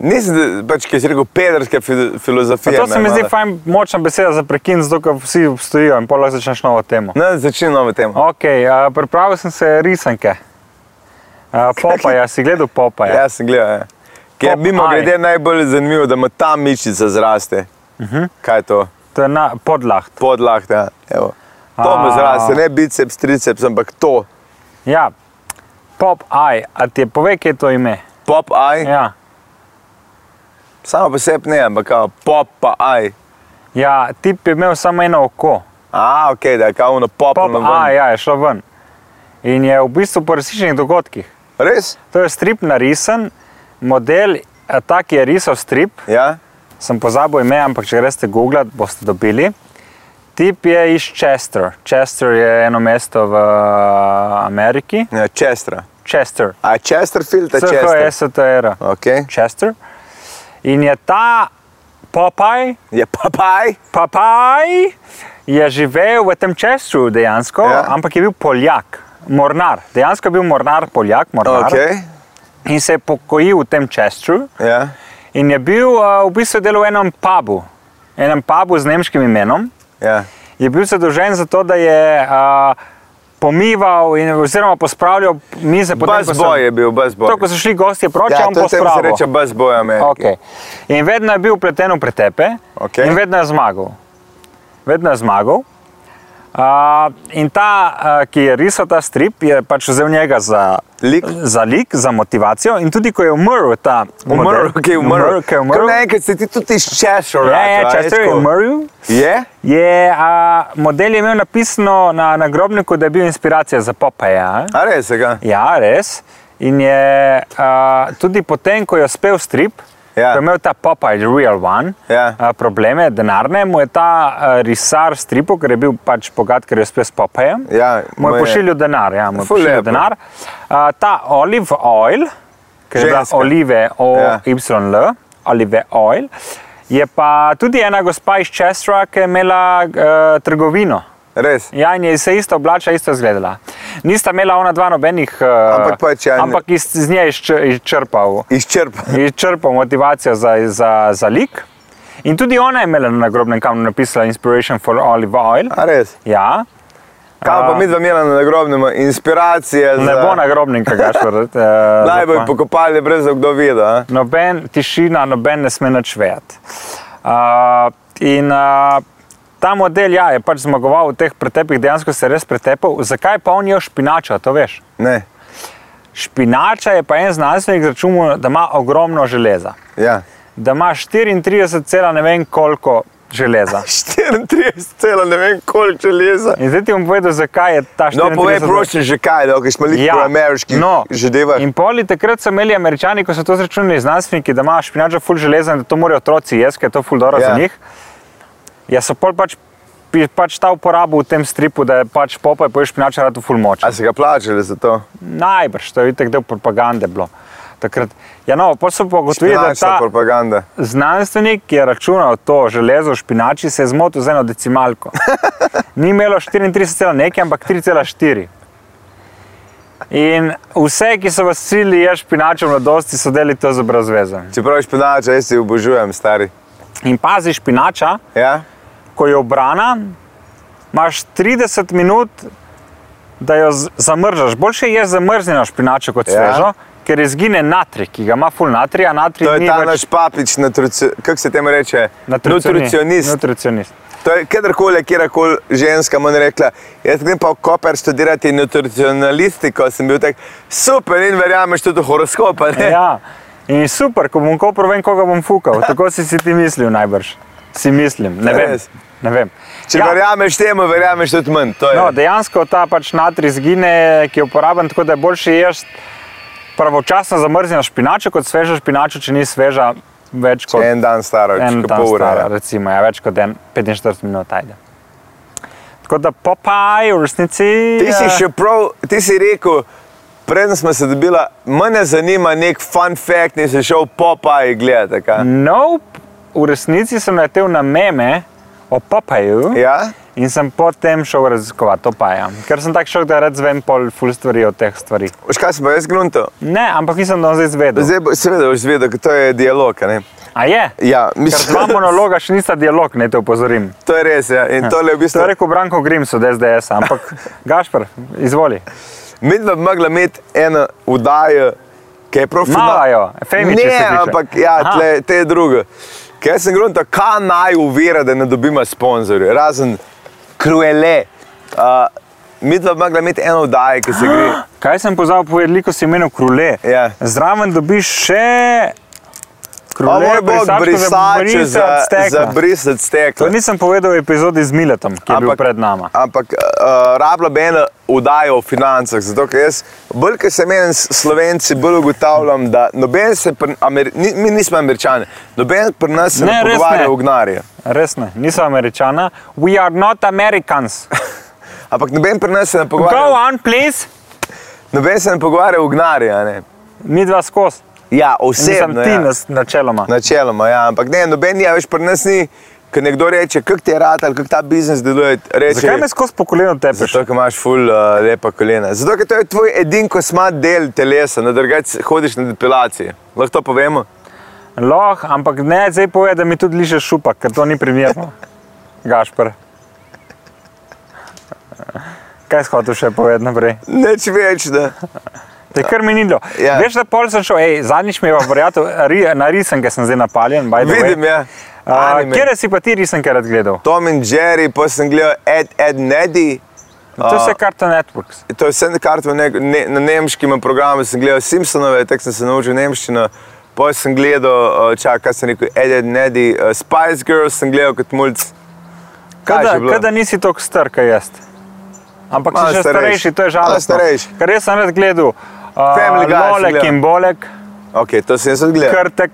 [SPEAKER 2] Nisem, da- pač, ki si rekel, pederska fi-
[SPEAKER 3] Pa
[SPEAKER 2] filozofija.
[SPEAKER 3] To se mi zdi fajn, močna beseda za prekin, zato ker vsi stojijo in pol lahko začneš novo temo.
[SPEAKER 2] Ne, začni novo temo.
[SPEAKER 3] Okay, uh, pripravil sem se risanke. Uh, Popaja, si gledal Popaja.
[SPEAKER 2] Jaz sem gledal. Ja. Ki je
[SPEAKER 3] Popeye.
[SPEAKER 2] mimo grede najbolj zanimivo, da ima ta mišica zraste. Uh
[SPEAKER 3] Mhm.
[SPEAKER 2] -huh. Kaj je to?
[SPEAKER 3] To je na podlah.
[SPEAKER 2] Podlahta. evo. To mu
[SPEAKER 3] A.
[SPEAKER 2] zraste, ne biceps, triceps, ampak to.
[SPEAKER 3] Ja, Popaj, a ti je pove, kje je to ime?
[SPEAKER 2] Pop aj, ja.
[SPEAKER 3] Ja,
[SPEAKER 2] samo po sebi ne, ampak kao pop pa aj.
[SPEAKER 3] ja tip je imel samo eno oko.
[SPEAKER 2] A, ok, da je kao ono popolno
[SPEAKER 3] Popaj,
[SPEAKER 2] ven.
[SPEAKER 3] ja, je šlo ven. In je v bistvu po resničnih dogodkih.
[SPEAKER 2] Res?
[SPEAKER 3] To je strip narisan, model, eh, ta, ki je risal strip,
[SPEAKER 2] Ja?
[SPEAKER 3] sem pozabil ime, ampak če greste googlat, boste dobili. Tip je iz Chester. Chester je eno mesto v eh, Ameriki.
[SPEAKER 2] ja Chestra.
[SPEAKER 3] Chester. E
[SPEAKER 2] A je Chesterfield, a Chester?
[SPEAKER 3] CHSTR.
[SPEAKER 2] Ok.
[SPEAKER 3] Chester. In je ta Popaj,
[SPEAKER 2] Je papaj?
[SPEAKER 3] Popaj je živel v tem Chesteru dejansko,
[SPEAKER 2] Ja.
[SPEAKER 3] ja. ampak je bil Poljak, mornar. Dejansko je bil mornar, Poljak, mornar.
[SPEAKER 2] Ok.
[SPEAKER 3] In se je pokojil v tem Chesteru.
[SPEAKER 2] Ja.
[SPEAKER 3] In je bil uh, v bistvu delal v enem pubu, enem pubu z nemškim imenom.
[SPEAKER 2] ja.
[SPEAKER 3] Je bil zadolžen za to, da je uh, pomival in oziroma pospravljal mize po
[SPEAKER 2] Buzzboy je bil, buzzboy.
[SPEAKER 3] To, ko so šli gostje proč,
[SPEAKER 2] Ja,
[SPEAKER 3] ja, on
[SPEAKER 2] to je temu se
[SPEAKER 3] pospravil.
[SPEAKER 2] reče buzzboy, Amerika.
[SPEAKER 3] Okay. In vedno je bil upleten v pretepe
[SPEAKER 2] Okej.
[SPEAKER 3] in vedno je zmagal. Vedno je zmagal. Uh, in ta, uh, ki je risal ta strip, je pač vzel njega za
[SPEAKER 2] Lik.
[SPEAKER 3] za, lik, za motivacijo. In tudi ko je umrl, ta
[SPEAKER 2] Umrl,
[SPEAKER 3] model-
[SPEAKER 2] ki je umrl.
[SPEAKER 3] ki je umrl.
[SPEAKER 2] Nekaj se ti tudi iz Cheshire.
[SPEAKER 3] Ja, ja,
[SPEAKER 2] vrača, a
[SPEAKER 3] Chester
[SPEAKER 2] veš,
[SPEAKER 3] je
[SPEAKER 2] ko-
[SPEAKER 3] umrl.
[SPEAKER 2] Je?
[SPEAKER 3] Je, a, model je imel napisano na nagrobniku, da je bil inspiracija za Popeja.
[SPEAKER 2] A res je ga?
[SPEAKER 3] Ja, res. In je a, tudi potem, ko je uspel strip,
[SPEAKER 2] Ja.
[SPEAKER 3] ko je imel ta Popeye, the real one,
[SPEAKER 2] Ja.
[SPEAKER 3] a, probleme denarne, mu je ta a, risar stripov, ker je bil pač bogat, ker je uspel s Popejem,
[SPEAKER 2] Ja,
[SPEAKER 3] mu
[SPEAKER 2] mu
[SPEAKER 3] je
[SPEAKER 2] je-
[SPEAKER 3] pošiljal denar. Ja, mu je
[SPEAKER 2] Ful
[SPEAKER 3] pošiljal
[SPEAKER 2] lepo.
[SPEAKER 3] denar. A, ta olive oil, ki je bila
[SPEAKER 2] Ženska.
[SPEAKER 3] olive
[SPEAKER 2] Ja.
[SPEAKER 3] OYL, ja. olive oil, je pa tudi ena gospa iz Chestra, ki je imela uh, trgovino.
[SPEAKER 2] Res.
[SPEAKER 3] Ja, in je se isto oblačila, isto izgledala. Nista imela ona dva nobenih, eh,
[SPEAKER 2] Ampak pač, ja, ne-
[SPEAKER 3] ampak iz, iz nje je izč- izčrpal,
[SPEAKER 2] Izčrpan.
[SPEAKER 3] izčrpal motivacijo za, za, za lik. In tudi ona je imela na grobnem kamnu napisala Inspiration for Olive Oil.
[SPEAKER 2] A res.
[SPEAKER 3] Ja,
[SPEAKER 2] Kaj pa
[SPEAKER 3] A.
[SPEAKER 2] mi dva imela na nagrobnem? Inspiracije.
[SPEAKER 3] ne
[SPEAKER 2] za-
[SPEAKER 3] bo na grobnem, kaj gaš.
[SPEAKER 2] Ja. Naj bo jih pokopali, brez da kdo vidi. a?
[SPEAKER 3] noben tišina, noben ne sme nič vedeti. Uh, in uh, ta model ja, je pač zmagoval v teh pretepih, dejansko se je res pretepal. Zakaj pa on je špinača, to veš?
[SPEAKER 2] Ne.
[SPEAKER 3] Špinača je pa en znanstvenik računal, da ima ogromno železa,
[SPEAKER 2] Ja.
[SPEAKER 3] da ima 34, cela ne vem koliko železa.
[SPEAKER 2] 34, celo ne vem koliko železa.
[SPEAKER 3] In zdaj ti bom povedal, zakaj je ta
[SPEAKER 2] No,
[SPEAKER 3] 34.
[SPEAKER 2] povej, prosim, že kaj, da smo bili ja. pri ameriških
[SPEAKER 3] no.
[SPEAKER 2] zadevah.
[SPEAKER 3] In poli takrat so imeli američani, ko so to izračunali znanstveniki, da ima špinača ful železa in da to morajo otroci jesti, ker je to ful dobro
[SPEAKER 2] Ja.
[SPEAKER 3] za njih. Ja, so pol pač, pi- pač ta uporabo v tem stripu, da je pač popaj poješ špinača rado ful moč.
[SPEAKER 2] A se ga plačali za to?
[SPEAKER 3] Najbrž, to je itek del propagande bilo. Takrat. Ja, no, pa so pa ugotovili, da
[SPEAKER 2] Finančna
[SPEAKER 3] ta
[SPEAKER 2] propaganda.
[SPEAKER 3] znanstvenik, ki je računal to železo v špinači, se je zmotil z eno decimalko. Ni imelo 34, nekaj, ampak 3,4. In vse, ki so vas silili, je špinačo v mladosti, so delali to z obrazvezom.
[SPEAKER 2] Čeprav špinača, jaz si obožujem, stari.
[SPEAKER 3] In pazi, špinača,
[SPEAKER 2] Ja?
[SPEAKER 3] ko je obrana, imaš 30 minut, da jo z- zamrzaš. Boljše je zamrznjeno špinačo kot
[SPEAKER 2] Ja.
[SPEAKER 3] svežo, ker izgine natrij, ki ga ima full natrija, natrij
[SPEAKER 2] To je
[SPEAKER 3] ni
[SPEAKER 2] ta
[SPEAKER 3] več
[SPEAKER 2] naš papič, nutrici- kako se temu reče?
[SPEAKER 3] nutricioni-
[SPEAKER 2] Nutricionist.
[SPEAKER 3] nutricionist.
[SPEAKER 2] To je kadarkoli, je kjerkoli ženska meni rekla, jaz grem pa v Koper študirati nutricionalistiko, sem bil tak super in verjameš tudi v horoskopa. ne?
[SPEAKER 3] Ja. In super, ko bom kopro, vem, koga bom fukal. Tako si, si ti mislil, najbrž. Si mislim, ne vem.
[SPEAKER 2] Res?
[SPEAKER 3] Ne vem.
[SPEAKER 2] Če ja. verjameš temu, verjameš tudi meni. To je.
[SPEAKER 3] No, dejansko ta pač natrij zgine, ki je uporaben, tako da je boljše jesti pravočasno zamrznjeno špinačo kot svežo špinačo, če ni sveža več kot
[SPEAKER 2] En dan staro,
[SPEAKER 3] en
[SPEAKER 2] če
[SPEAKER 3] dan
[SPEAKER 2] pol ure.
[SPEAKER 3] stara,
[SPEAKER 2] ja.
[SPEAKER 3] recimo, ja, več kot en 45 minut ajde. Tako da popaj v resnici.
[SPEAKER 2] Ti si
[SPEAKER 3] eh,
[SPEAKER 2] še prav, ti si rekel, preden smo se dobila, mene zanima nek fun fact, nisem šel popaj gledati.
[SPEAKER 3] Mm.
[SPEAKER 2] kaj.
[SPEAKER 3] Nope, v resnici sem letel na meme o popaju.
[SPEAKER 2] Ja?
[SPEAKER 3] In sem potem šel raziskovati to paja, ker sem tako šel, da rad zvem pol ful stvari o teh stvari.
[SPEAKER 2] Veš kaj sem pa jaz grunto?
[SPEAKER 3] Ne, ampak nisem do zdaj izvedel.
[SPEAKER 2] Zdaj, bo- seveda, boš zvedel, ker to je dialog. a ne.
[SPEAKER 3] A je?
[SPEAKER 2] Ja,
[SPEAKER 3] Ker dva
[SPEAKER 2] mislim,
[SPEAKER 3] monologa še nista dialog, ne te opozorim.
[SPEAKER 2] to je res. Ja. In tole je v
[SPEAKER 3] To
[SPEAKER 2] bistvu.
[SPEAKER 3] je rekel Branko Grims od SDS, ampak Gašpr, izvoli.
[SPEAKER 2] Mi bi mogli imeti eno vdajo, ki je profilna.
[SPEAKER 3] Mala jo, Femiči se
[SPEAKER 2] Ne,
[SPEAKER 3] piše.
[SPEAKER 2] ampak ja,
[SPEAKER 3] Aha.
[SPEAKER 2] tle, te je drugo. Ker jaz sem grunto, kaj naj uvira, da ne dobimo sponzorjev, razen kruele. Uh, mi bi mogli imeti eno vdajo, ki se gre.
[SPEAKER 3] Kaj sem pozabil povedati, veliko si imenil krule.
[SPEAKER 2] Ja.
[SPEAKER 3] Zraven dobiš še
[SPEAKER 2] O
[SPEAKER 3] krule,
[SPEAKER 2] moj bog, brisače za, za
[SPEAKER 3] stekla.
[SPEAKER 2] brisati steklo.
[SPEAKER 3] To nisem povedal v epizodi z Miletom, ki je bil pred nama.
[SPEAKER 2] Ampak uh, rabila bi ena vdaja o financah, zato ker jaz, bolj kot se meni s Slovenci, bolj ugotavljam, da noben se, pri, Ameri, ni, mi nismo američani, noben pri nas se ne,
[SPEAKER 3] Ne,
[SPEAKER 2] ne
[SPEAKER 3] res ne.
[SPEAKER 2] pogovarja o gnarju.
[SPEAKER 3] Res ne, niso američana. We are not Americans.
[SPEAKER 2] Ampak noben pri nas se ne
[SPEAKER 3] Go
[SPEAKER 2] pogovarja,
[SPEAKER 3] on, please.
[SPEAKER 2] noben se ne pogovarja o gnarju. a ne.
[SPEAKER 3] Mi dva skozi.
[SPEAKER 2] Ja,
[SPEAKER 3] Sem
[SPEAKER 2] osebno.
[SPEAKER 3] ti ja.
[SPEAKER 2] Ja.
[SPEAKER 3] načeloma.
[SPEAKER 2] Načeloma, ja, ampak ne, noben je, veš, pri nas ni, ker nekdo reče, kak ti je rat ali kak ta biznis deluje. Reče,
[SPEAKER 3] Zakaj me skozi po kolenu tepeš?
[SPEAKER 2] Zato, ker imaš ful uh, lepa kolena. Zato, ker to je tvoj edini kosmat del telesa, na drugače hodiš na depilacije. Lahko to povemo?
[SPEAKER 3] Loh, ampak ne, zdaj pove, da mi tudi liže šupak, ker to ni primerno. Gašpr. Kaj si hotel še povedati naprej?
[SPEAKER 2] Neč več, da.
[SPEAKER 3] Te je kar minilo.
[SPEAKER 2] Ja.
[SPEAKER 3] Ja. Veš, da pol sem šel, ej, zadnjič mi je pa verjetno ri, na risanke sem zdaj napaljen. by the way.
[SPEAKER 2] Vidim, ja.
[SPEAKER 3] A,
[SPEAKER 2] Anime.
[SPEAKER 3] Kjer si pa ti risanke rad gledal?
[SPEAKER 2] Tom in Jerry, pa sem gledal Ed, Ed Neddy.
[SPEAKER 3] To je vse Cartoon Networks.
[SPEAKER 2] To je vse kart ne, ne, na nemškem programu, sem gledal Simpsonove, tako sem se naučil nemščino. Pa sem gledal, uh, čak, kaj sem rekel, Ed, Ed Neddy, uh, Spice Girls sem gledal kot mulj. Kaj je
[SPEAKER 3] Kada,
[SPEAKER 2] že bilo?
[SPEAKER 3] kada nisi tako star, kaj jaz. Ampak
[SPEAKER 2] Malo
[SPEAKER 3] si že
[SPEAKER 2] starejši.
[SPEAKER 3] starejši, to je
[SPEAKER 2] Malo
[SPEAKER 3] žalostno.
[SPEAKER 2] starejši.
[SPEAKER 3] Ker jaz sem rad gledal
[SPEAKER 2] Family ja. Guy sem
[SPEAKER 3] Lolek
[SPEAKER 2] gledal.
[SPEAKER 3] in Bolek,
[SPEAKER 2] Ok, to sem jaz odgledal.
[SPEAKER 3] Krtek,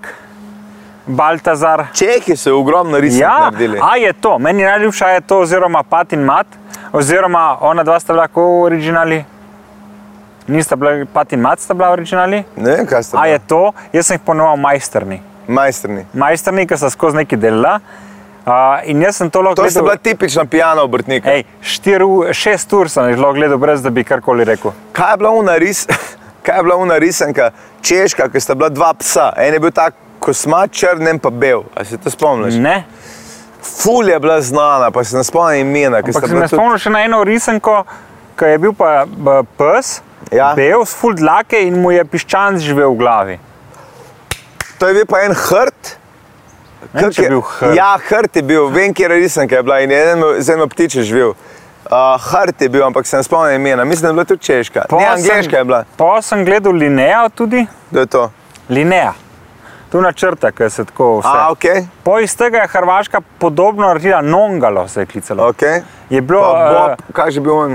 [SPEAKER 3] Baltazar.
[SPEAKER 2] Čehi so ogromno risov
[SPEAKER 3] Ja,
[SPEAKER 2] naredili.
[SPEAKER 3] a je to, meni najljubša je to, oziroma Pat in Mat, oziroma ona dva sta bila kot originali. Nista bila, Pat in Mat sta bila originali.
[SPEAKER 2] Ne vem, kaj ste.
[SPEAKER 3] A je to, jaz sem jih ponoval majstrni.
[SPEAKER 2] Majstrni.
[SPEAKER 3] Majstrni, ki sta skozi neki delala. Uh, in jaz sem to lahko
[SPEAKER 2] To sta
[SPEAKER 3] gledal-
[SPEAKER 2] bila tipična pijana obrtnika.
[SPEAKER 3] Ej, štiri, u- šest ur sem jih lahko gledal, brez da bi karkoli rekel.
[SPEAKER 2] Kaj je bila ona ris, kaj je bila ona risanka, češka, ki sta bila dva psa. En je bil tak kosmat črn, en pa bel. A se to spomniš?
[SPEAKER 3] Ne.
[SPEAKER 2] Ful je bila znana, pa se ne spomnim imena, ki sta
[SPEAKER 3] Ampak sem
[SPEAKER 2] bila
[SPEAKER 3] se spomnil še na eno risanko, ki je bil pa b, pes,
[SPEAKER 2] Ja.
[SPEAKER 3] bel, s full dlake in mu je piščan živel v glavi.
[SPEAKER 2] To je bil pa en hrt.
[SPEAKER 3] Ne vem,
[SPEAKER 2] kak
[SPEAKER 3] če je bil hrt.
[SPEAKER 2] Ja, hrt je bil, vem, kje je risanka je bila in je en z eno ptiče živel. Uh, hrt je bil, ampak se ne spomnim imena. Mislim, da je bila tudi češka. Ne, angliška je bila.
[SPEAKER 3] Pa sem gledal Lineja tudi,
[SPEAKER 2] To je to.
[SPEAKER 3] Lineja. Tu na črta, ki se tako vse.
[SPEAKER 2] A, ok.
[SPEAKER 3] Po iz tega je Hrvaška podobno naredila Nongalo, se je klicalo.
[SPEAKER 2] Okay.
[SPEAKER 3] Je bilo
[SPEAKER 2] Pa
[SPEAKER 3] eh,
[SPEAKER 2] Bob, kaj že bil on?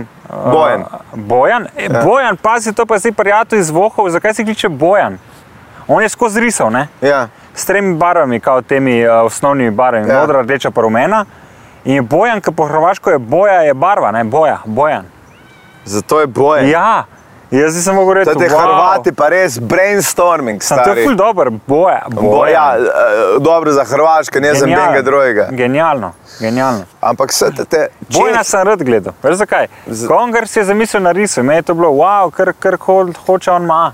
[SPEAKER 2] Bojen.
[SPEAKER 3] Bojan, e,
[SPEAKER 2] Ja.
[SPEAKER 3] Bojan pazi, to pa si prijatelj iz Vohov, zakaj se kliče Bojan? On je skozi risal, ne?
[SPEAKER 2] Ja.
[SPEAKER 3] S tremi barvami, kot temi uh, osnovnimi barvami,
[SPEAKER 2] Ja.
[SPEAKER 3] ja. modra, rdeča, pa rumena. In je Bojan, ki po hrvaško je boja, je barva, ne boja, Bojan.
[SPEAKER 2] Zato je bojen.
[SPEAKER 3] Ja, jaz nisem mogel reči,
[SPEAKER 2] Zdaj te
[SPEAKER 3] wow.
[SPEAKER 2] Hrvati pa res brainstorming.
[SPEAKER 3] Sem, to je ful
[SPEAKER 2] Stari.
[SPEAKER 3] dober, boja.
[SPEAKER 2] Bo, ja, eh, dobro za Hrvaško, ne za
[SPEAKER 3] Genialno.
[SPEAKER 2] benga drugega.
[SPEAKER 3] Genialno, genialno.
[SPEAKER 2] Ampak vse te, te
[SPEAKER 3] Bojna
[SPEAKER 2] čez-
[SPEAKER 3] sem rad gledal. Veš zakaj?
[SPEAKER 2] Z-
[SPEAKER 3] Kongres je zamislil na risu, meni je to bilo, wow, kar, kar ho, hoče on ma.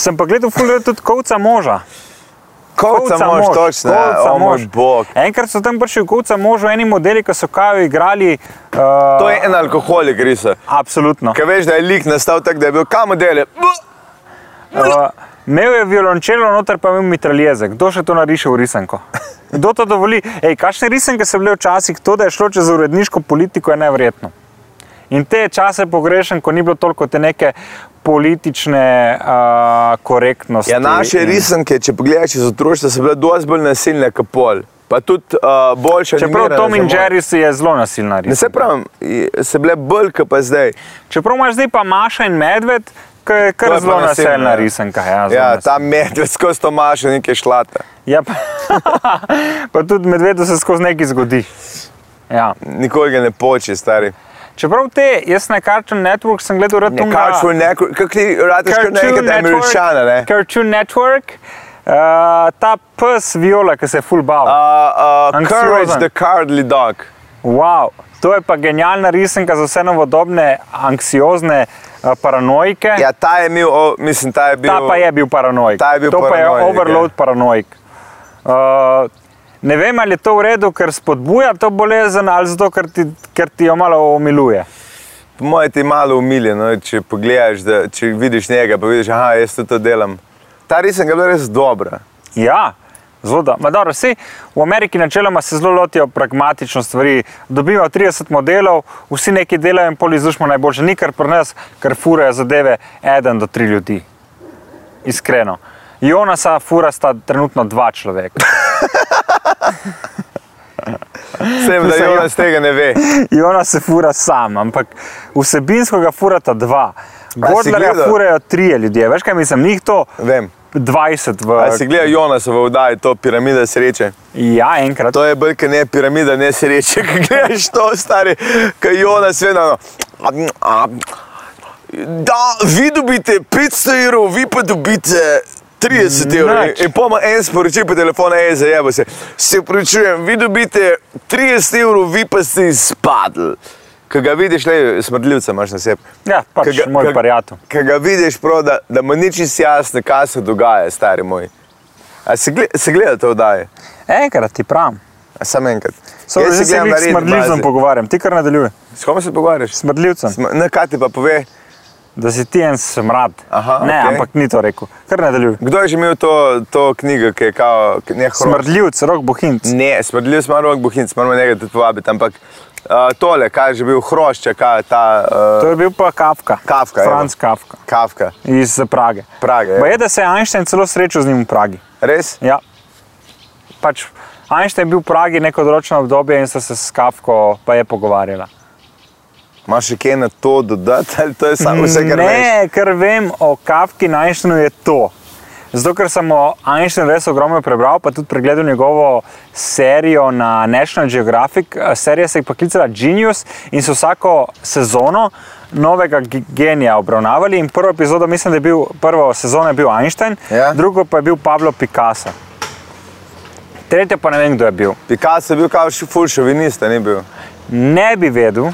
[SPEAKER 3] Sem pa gledal fulgrat tudi kovca moža.
[SPEAKER 2] kovca mož, točno, ja,
[SPEAKER 3] kovca
[SPEAKER 2] o moj
[SPEAKER 3] mož.
[SPEAKER 2] bog.
[SPEAKER 3] Enkrat so tam prišli v kovca možu eni modeli, ki so kajo igrali. Uh,
[SPEAKER 2] To je en alkoholik, risa.
[SPEAKER 3] Absolutno.
[SPEAKER 2] Ker veš, da je lik nastal tako, da je bil kam dele.
[SPEAKER 3] Uh, imel je violončelo, noter pa je imel mitraljeze. Kdo še to nariše v risanko? Kdo to dovoli? Ej, kakšne risanke so bile včasih, to, da je šlo čez uredniško politiko, je nevrjetno. In te čase pogrešam, ko ni bilo toliko te neke politične uh, korektnosti.
[SPEAKER 2] Ja, naše
[SPEAKER 3] In-
[SPEAKER 2] risanke, če pogledaš iz otroštva, so bile dosti bolj nasilne kot pol. Pa tudi uh, boljše.
[SPEAKER 3] Čeprav
[SPEAKER 2] animirane
[SPEAKER 3] Tom
[SPEAKER 2] za
[SPEAKER 3] in
[SPEAKER 2] moj-
[SPEAKER 3] Jerry si je zelo nasilna
[SPEAKER 2] Ne
[SPEAKER 3] res.
[SPEAKER 2] se pravim, i- so bile bolj kot pa zdaj.
[SPEAKER 3] Čeprav imaš zdaj pa Maša in Medved, ki je
[SPEAKER 2] To
[SPEAKER 3] kar
[SPEAKER 2] je pa
[SPEAKER 3] zelo
[SPEAKER 2] nasilna,
[SPEAKER 3] nasilna
[SPEAKER 2] ja.
[SPEAKER 3] risanka. Ja, zelo
[SPEAKER 2] Ja,
[SPEAKER 3] nasilna.
[SPEAKER 2] ta medved skozi to mašo nekaj šlata.
[SPEAKER 3] Ja, pa, pa tudi medvedu se skozi nekaj zgodi. Ja.
[SPEAKER 2] Nikoli ga ne poči, stari.
[SPEAKER 3] Čeprav te, jaz na Cartoon Network sem gledal rad
[SPEAKER 2] Ne,
[SPEAKER 3] Tunga.
[SPEAKER 2] Cartoon Network, kako ti radiš kot nekaj američana, ne?
[SPEAKER 3] Cartoon Network, uh, ta pes Viola, ki se je full
[SPEAKER 2] Uh,
[SPEAKER 3] bav.
[SPEAKER 2] uh,
[SPEAKER 3] Anksiozen.
[SPEAKER 2] courage the Cardly Dog.
[SPEAKER 3] Wow, to je pa genialna risanka za vse novodobne, anksiozne uh, paranoike.
[SPEAKER 2] Ja, ta je bil, o, mislim, ta je bil.
[SPEAKER 3] Ta pa je bil paranoik.
[SPEAKER 2] Ta je bil
[SPEAKER 3] to pa je
[SPEAKER 2] paranoik,
[SPEAKER 3] overload
[SPEAKER 2] ja.
[SPEAKER 3] ja. paranoik. Uh, ne vem, ali je to v redu, ker spodbuja to bolezen ali zato, ker ti, ker ti jo malo omiluje.
[SPEAKER 2] Po mojem e ti je malo umiljen, no, če pogledaš, da, če vidiš njega, pa vidiš, aha, jaz tudi to delam. Ta risanka je bila res dobra.
[SPEAKER 3] Ja, zelo da. Ma Dobro, vsi v Ameriki načeloma se zelo lotijo pragmatično stvari. Dobimo 30 modelov, vsi neki delajo in pol izlušmo najboljše. Ni kar pri nas, ker furajo zadeve eden do tri ljudi. Iskreno. Jonasa fura sta trenutno dva človeka.
[SPEAKER 2] Vsem, da
[SPEAKER 3] Mislim,
[SPEAKER 2] Jonas tega ne e ve.
[SPEAKER 3] Jona se fura sam, ampak vsebinsko ga furata dva.
[SPEAKER 2] si
[SPEAKER 3] Gordlerja
[SPEAKER 2] gledal?
[SPEAKER 3] furajo trije ljudje. Veš kaj mislim, njih to
[SPEAKER 2] Vem.
[SPEAKER 3] 20
[SPEAKER 2] A
[SPEAKER 3] v...
[SPEAKER 2] si gledal Jonasa v vdaji, to piramida sreče?
[SPEAKER 3] Ja, enkrat.
[SPEAKER 2] To je bolj, kot ne piramida nesreče, ki greš to, stari, ki Jonas vedno. no. Da, vi dobite 500 evrov, vi pa dobite 30 evrov.
[SPEAKER 3] Nič.
[SPEAKER 2] In poma en sporoči po telefonu, hej, zajebo se. Se upravičujem, vi dobite 30 evrov, vi pa ste izpadli. Ko ga vidiš, le smrdljivca imaš na sebi.
[SPEAKER 3] Ja, pač
[SPEAKER 2] Ko ga-
[SPEAKER 3] moj
[SPEAKER 2] ko-
[SPEAKER 3] prijatelj.
[SPEAKER 2] Ko ga vidiš, prav, da, da mu ni čisto jasno, kaj se dogaja, stari moj. A se, gled, se gleda to vdaje?
[SPEAKER 3] Enkrat ti pravim.
[SPEAKER 2] A Samo enkrat.
[SPEAKER 3] Samo
[SPEAKER 2] Jaz
[SPEAKER 3] zdaj
[SPEAKER 2] se
[SPEAKER 3] se
[SPEAKER 2] gledam
[SPEAKER 3] jih
[SPEAKER 2] na
[SPEAKER 3] s
[SPEAKER 2] red
[SPEAKER 3] smrdljivcem
[SPEAKER 2] bazi.
[SPEAKER 3] pogovarjam, ti kar nadaljuje.
[SPEAKER 2] S kom se pogovarjaš?
[SPEAKER 3] S smrdljivcem,
[SPEAKER 2] Sm- Ne, kaj ti pa pove,
[SPEAKER 3] da si ti en smrad.
[SPEAKER 2] Aha,
[SPEAKER 3] ne,
[SPEAKER 2] okej.
[SPEAKER 3] ampak ni to rekel, kar nadaljuje.
[SPEAKER 2] kdo je že imel to, to knjigo, ki je kao, ki- ne hro-
[SPEAKER 3] Smrdljivc, rok bohinc.
[SPEAKER 2] Ne, smrdljiv smo rok bohinc, moramo nekaj tudi povabiti, ampak uh, tole, kaj je že bil hrošče, kaj je ta
[SPEAKER 3] To
[SPEAKER 2] uh,
[SPEAKER 3] je bil pa Kafka.
[SPEAKER 2] Kafka, evo.
[SPEAKER 3] Franz Kafka
[SPEAKER 2] Kafka.
[SPEAKER 3] iz Prage.
[SPEAKER 2] Prage, ja. evo.
[SPEAKER 3] Pa je, da se je Einstein celo srečal z njim v Pragi.
[SPEAKER 2] Res?
[SPEAKER 3] Ja. Pač, Einstein je bil v Pragi neko določeno obdobje in so se s Kafko pa je pogovarjala.
[SPEAKER 2] Imaš še kaj na to dodati, ali to je samo vse, kar veš?
[SPEAKER 3] Mm, ne, kar vem o Kafki na Einsteinu je to. Zato, ker sem o Einsteinu res ogromno prebral, pa tudi pregledal njegovo serijo na National Geographic. Eh, Serija se je pa klicala Genius in so vsako sezono novega ge- genija obravnavali. In prvo epizodo, mislim, da je bil, prvo sezono je bil Einstein,
[SPEAKER 2] Ja.
[SPEAKER 3] drugo pa je bil Pablo Picasso. Tretje pa ne vem, kdo je bil.
[SPEAKER 2] Picasso je bil kao še ful šovinista, ni bil.
[SPEAKER 3] ne bi vedel.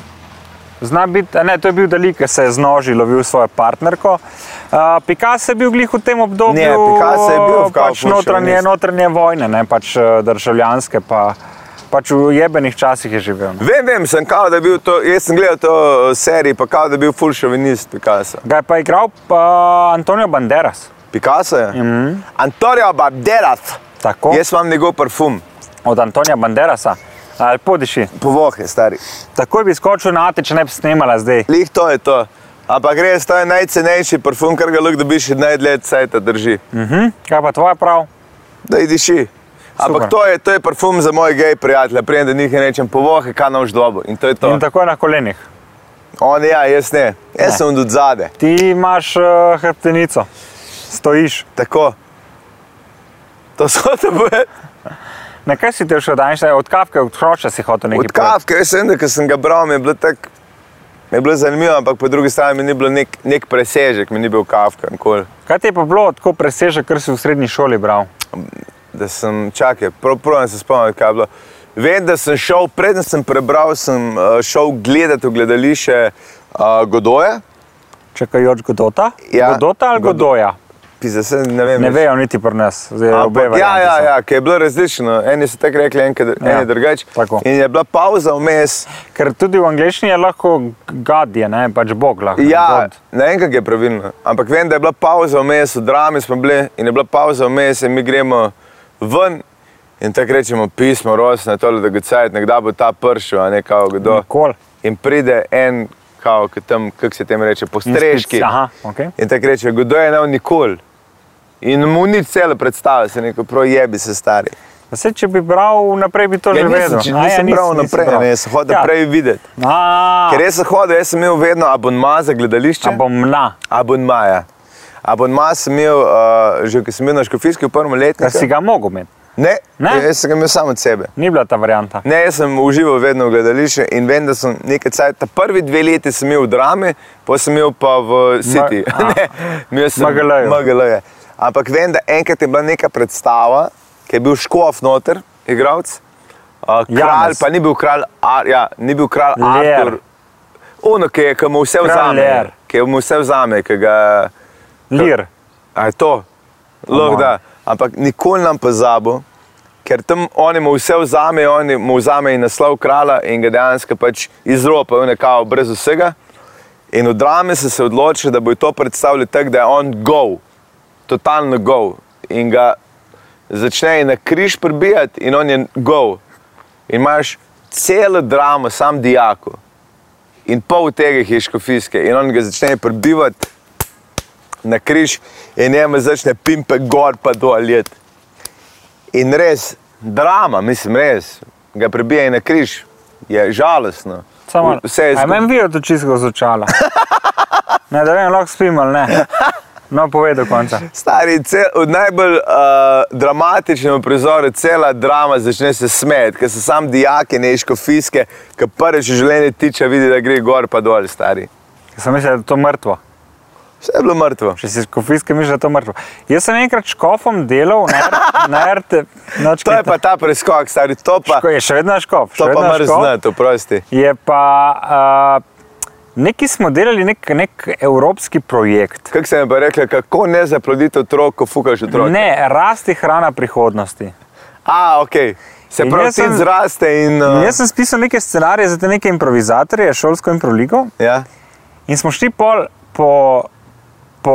[SPEAKER 3] Zna biti, a ne, to je bil Dali, ki se je z noži lovil svojo partnerko. Uh, Picasso je bil glih v tem obdobju,
[SPEAKER 2] Ne, Picasso je bil v
[SPEAKER 3] pač
[SPEAKER 2] kapu
[SPEAKER 3] notranje,
[SPEAKER 2] šovinist.
[SPEAKER 3] notranje vojne, ne pač eh, državljanske, pa, pač v jebenih časih je živel. ne.
[SPEAKER 2] Vem, vem, sem kao, da je bil to, jaz sem gledal to eh, serijo, pa kao, da je bil ful šovinist Picasso.
[SPEAKER 3] Ga je pa igral pa Antonijo Banderas.
[SPEAKER 2] Picasso je? Mm -hmm. Antonio Banderas.
[SPEAKER 3] Tako,
[SPEAKER 2] Jaz imam njegov parfum,
[SPEAKER 3] od Antonija Banderasa. Ali podiši.
[SPEAKER 2] povohe, stari.
[SPEAKER 3] Takoj bi skočil na ate, če ne bi snimala zdaj.
[SPEAKER 2] Lih to je to. Ampak res,
[SPEAKER 3] Hm.
[SPEAKER 2] to je najcenejši parfum, kar ga lahko dobiš in najdlje cajt drži.
[SPEAKER 3] Uh -huh. Kaj pa tvoja prav?
[SPEAKER 2] da diši. Ampak
[SPEAKER 3] Super.
[SPEAKER 2] to je, to je parfum za moje gej prijatelje, prijem, da njih ne rečem povohe, kaj nam ždobo. In to je to.
[SPEAKER 3] In tako je na kolenih.
[SPEAKER 2] On ja, jaz ne, jaz
[SPEAKER 3] Ne.
[SPEAKER 2] sem od zadaj.
[SPEAKER 3] Ti imaš uh, hrbtenico, stojiš.
[SPEAKER 2] Tako. To so te boje.
[SPEAKER 3] Na kaj si te še danes, od kavke, od hroča si hotel nekaj
[SPEAKER 2] Od kavke, jaz sem, da ko sem ga bral, mi je bilo tako. Mi je bilo zanimivo, ampak po drugi strani mi ni bilo nek, nek presežek, mi ni bil kavka, nikoli.
[SPEAKER 3] povedati. Kaj ti je pa bilo tako presežek, kar si v srednji šoli bral?
[SPEAKER 2] Da sem čakal, pravno se spomnim, kaj je bilo. Vem, da sem šel, predtem sem prebral, sem eh, šel gledati v gledališče uh, Godoja.
[SPEAKER 3] Čakajoč Godota?
[SPEAKER 2] Ja.
[SPEAKER 3] Godota ali
[SPEAKER 2] Godo-
[SPEAKER 3] Godoja?
[SPEAKER 2] Pisa, se, ne vem,
[SPEAKER 3] Ne
[SPEAKER 2] več.
[SPEAKER 3] vejo niti pri nas, zdaj obe
[SPEAKER 2] Ampak, ja,
[SPEAKER 3] variante
[SPEAKER 2] ja,
[SPEAKER 3] so.
[SPEAKER 2] ja, ki je bilo različno. Eni so tako rekli, enke, ja. eni drugače.
[SPEAKER 3] tako.
[SPEAKER 2] In je bila pauza vmes.
[SPEAKER 3] Ker tudi v angleščini je lahko gadje, ne pač bog lahko.
[SPEAKER 2] Ja,
[SPEAKER 3] god.
[SPEAKER 2] ne vem, kako je pravilno. Ampak vem, da je bila pauza vmes, v drami smo bili in je bila pauza vmes, in mi gremo ven. In tako rečemo, pismo, rojstno, tole, da ga cajt, nekdaj bo ta pršil, a ne kao kdo.
[SPEAKER 3] Nikoli.
[SPEAKER 2] In pride en, kao, ki tam, kako se tem reče,
[SPEAKER 3] In spet-
[SPEAKER 2] postreški.
[SPEAKER 3] Aha, okay.
[SPEAKER 2] In tako reče, kdo je ne, nikoli. In mu ni celo predstave, se neko projebi se stari.
[SPEAKER 3] Vse, če bi bral naprej, bi to
[SPEAKER 2] Ja,
[SPEAKER 3] že
[SPEAKER 2] nisem,
[SPEAKER 3] vedel.
[SPEAKER 2] če,
[SPEAKER 3] A,
[SPEAKER 2] nisem
[SPEAKER 3] nisi-
[SPEAKER 2] prav
[SPEAKER 3] nisi
[SPEAKER 2] naprej, ne, sem hodil
[SPEAKER 3] Ja.
[SPEAKER 2] ja. prej videti.
[SPEAKER 3] A,
[SPEAKER 2] Ker jaz sem hodil, jaz sem imel vedno abonma za gledališče.
[SPEAKER 3] A bom na.
[SPEAKER 2] Abonma, ja. Abonma sem imel, uh, že ko sem bil na Škofijski v prvem
[SPEAKER 3] Da si
[SPEAKER 2] letniku.
[SPEAKER 3] ga mogel imeti.
[SPEAKER 2] Ne,
[SPEAKER 3] Ne?
[SPEAKER 2] jaz sem ga imel samo od sebe.
[SPEAKER 3] Ni bila ta varianta.
[SPEAKER 2] Ne, jaz sem užival vedno v gledališču in vem, da sem nekaj časa, ta prvi dve leti sem imel v drami, pa sem imel pa v City.
[SPEAKER 3] Ma-
[SPEAKER 2] Ne, imel sem
[SPEAKER 3] MGL-ju.
[SPEAKER 2] MGL-je. Ampak vem, da enkrat je bila neka predstava, ki je bil škof noter, igralec. Uh, kralj,
[SPEAKER 3] Janez.
[SPEAKER 2] pa ni bil kralj, Ar, ja, ni bil kralj
[SPEAKER 3] Lear.
[SPEAKER 2] Artur. Ono, ki je- ki mu vse
[SPEAKER 3] Lear.
[SPEAKER 2] vzame, ki mu vse vzame, ki ga
[SPEAKER 3] Lir.
[SPEAKER 2] A je to, lahko
[SPEAKER 3] mojem.
[SPEAKER 2] da. Ampak nikoli nam pozabo, ker tam oni mu vse vzamejo, oni mu vzamejo naslov kralja in ga dejansko pač izropajo, nekako brez vsega. In v drame so se odločili, da bojo to predstavili tako, da je on gov, totalno gov. In ga začnejo na križ pribijati, in on je gov. In imaš celo dramo, sam dijako. In pol tega jih je škofijske, in on ga začne pribivati na križ in njemu začne pimpe gor pa dol let. In res, drama, mislim, res, ga prebije na križ, je žalostno.
[SPEAKER 3] Samo,
[SPEAKER 2] V- Vse je
[SPEAKER 3] A Meni
[SPEAKER 2] zgodilo.
[SPEAKER 3] vijo to čisto zočala. Ne, da vem, lahko spim ali ne. No, povej do konca.
[SPEAKER 2] Stari, cel, od najbolj uh, dramatičnega prizora cela drama začne se smejati, ker so sam dijaki neškofiske, ki prvič v življenju tiče, vidi, da gre gor pa dol, stari.
[SPEAKER 3] Ker Sem mislil, da je to mrtvo.
[SPEAKER 2] Vse je bilo mrtvo.
[SPEAKER 3] Če si škofiske, misliš, da je to mrtvo. Jaz sem enkrat škofom delal, na, R- na RT. No,
[SPEAKER 2] To je pa ta preskok, stari, to pa,
[SPEAKER 3] Ško, je še vedno škof.
[SPEAKER 2] to pa mrzne, to prosti.
[SPEAKER 3] Je pa, uh, neki smo delali nek, nek evropski projekt.
[SPEAKER 2] Kako se mi pa rekli, kako ne zaploditi otrok, ko fukaš otrok?
[SPEAKER 3] Ne, rasti hrana prihodnosti.
[SPEAKER 2] A, ok. Se
[SPEAKER 3] In
[SPEAKER 2] pravi,
[SPEAKER 3] jaz
[SPEAKER 2] ti
[SPEAKER 3] sem-
[SPEAKER 2] zraste in. uh,
[SPEAKER 3] In jaz sem spisal neke scenarije za te neke improvizatorje, šolsko improvizacijo.
[SPEAKER 2] Ja.
[SPEAKER 3] In smo šli pol po, po,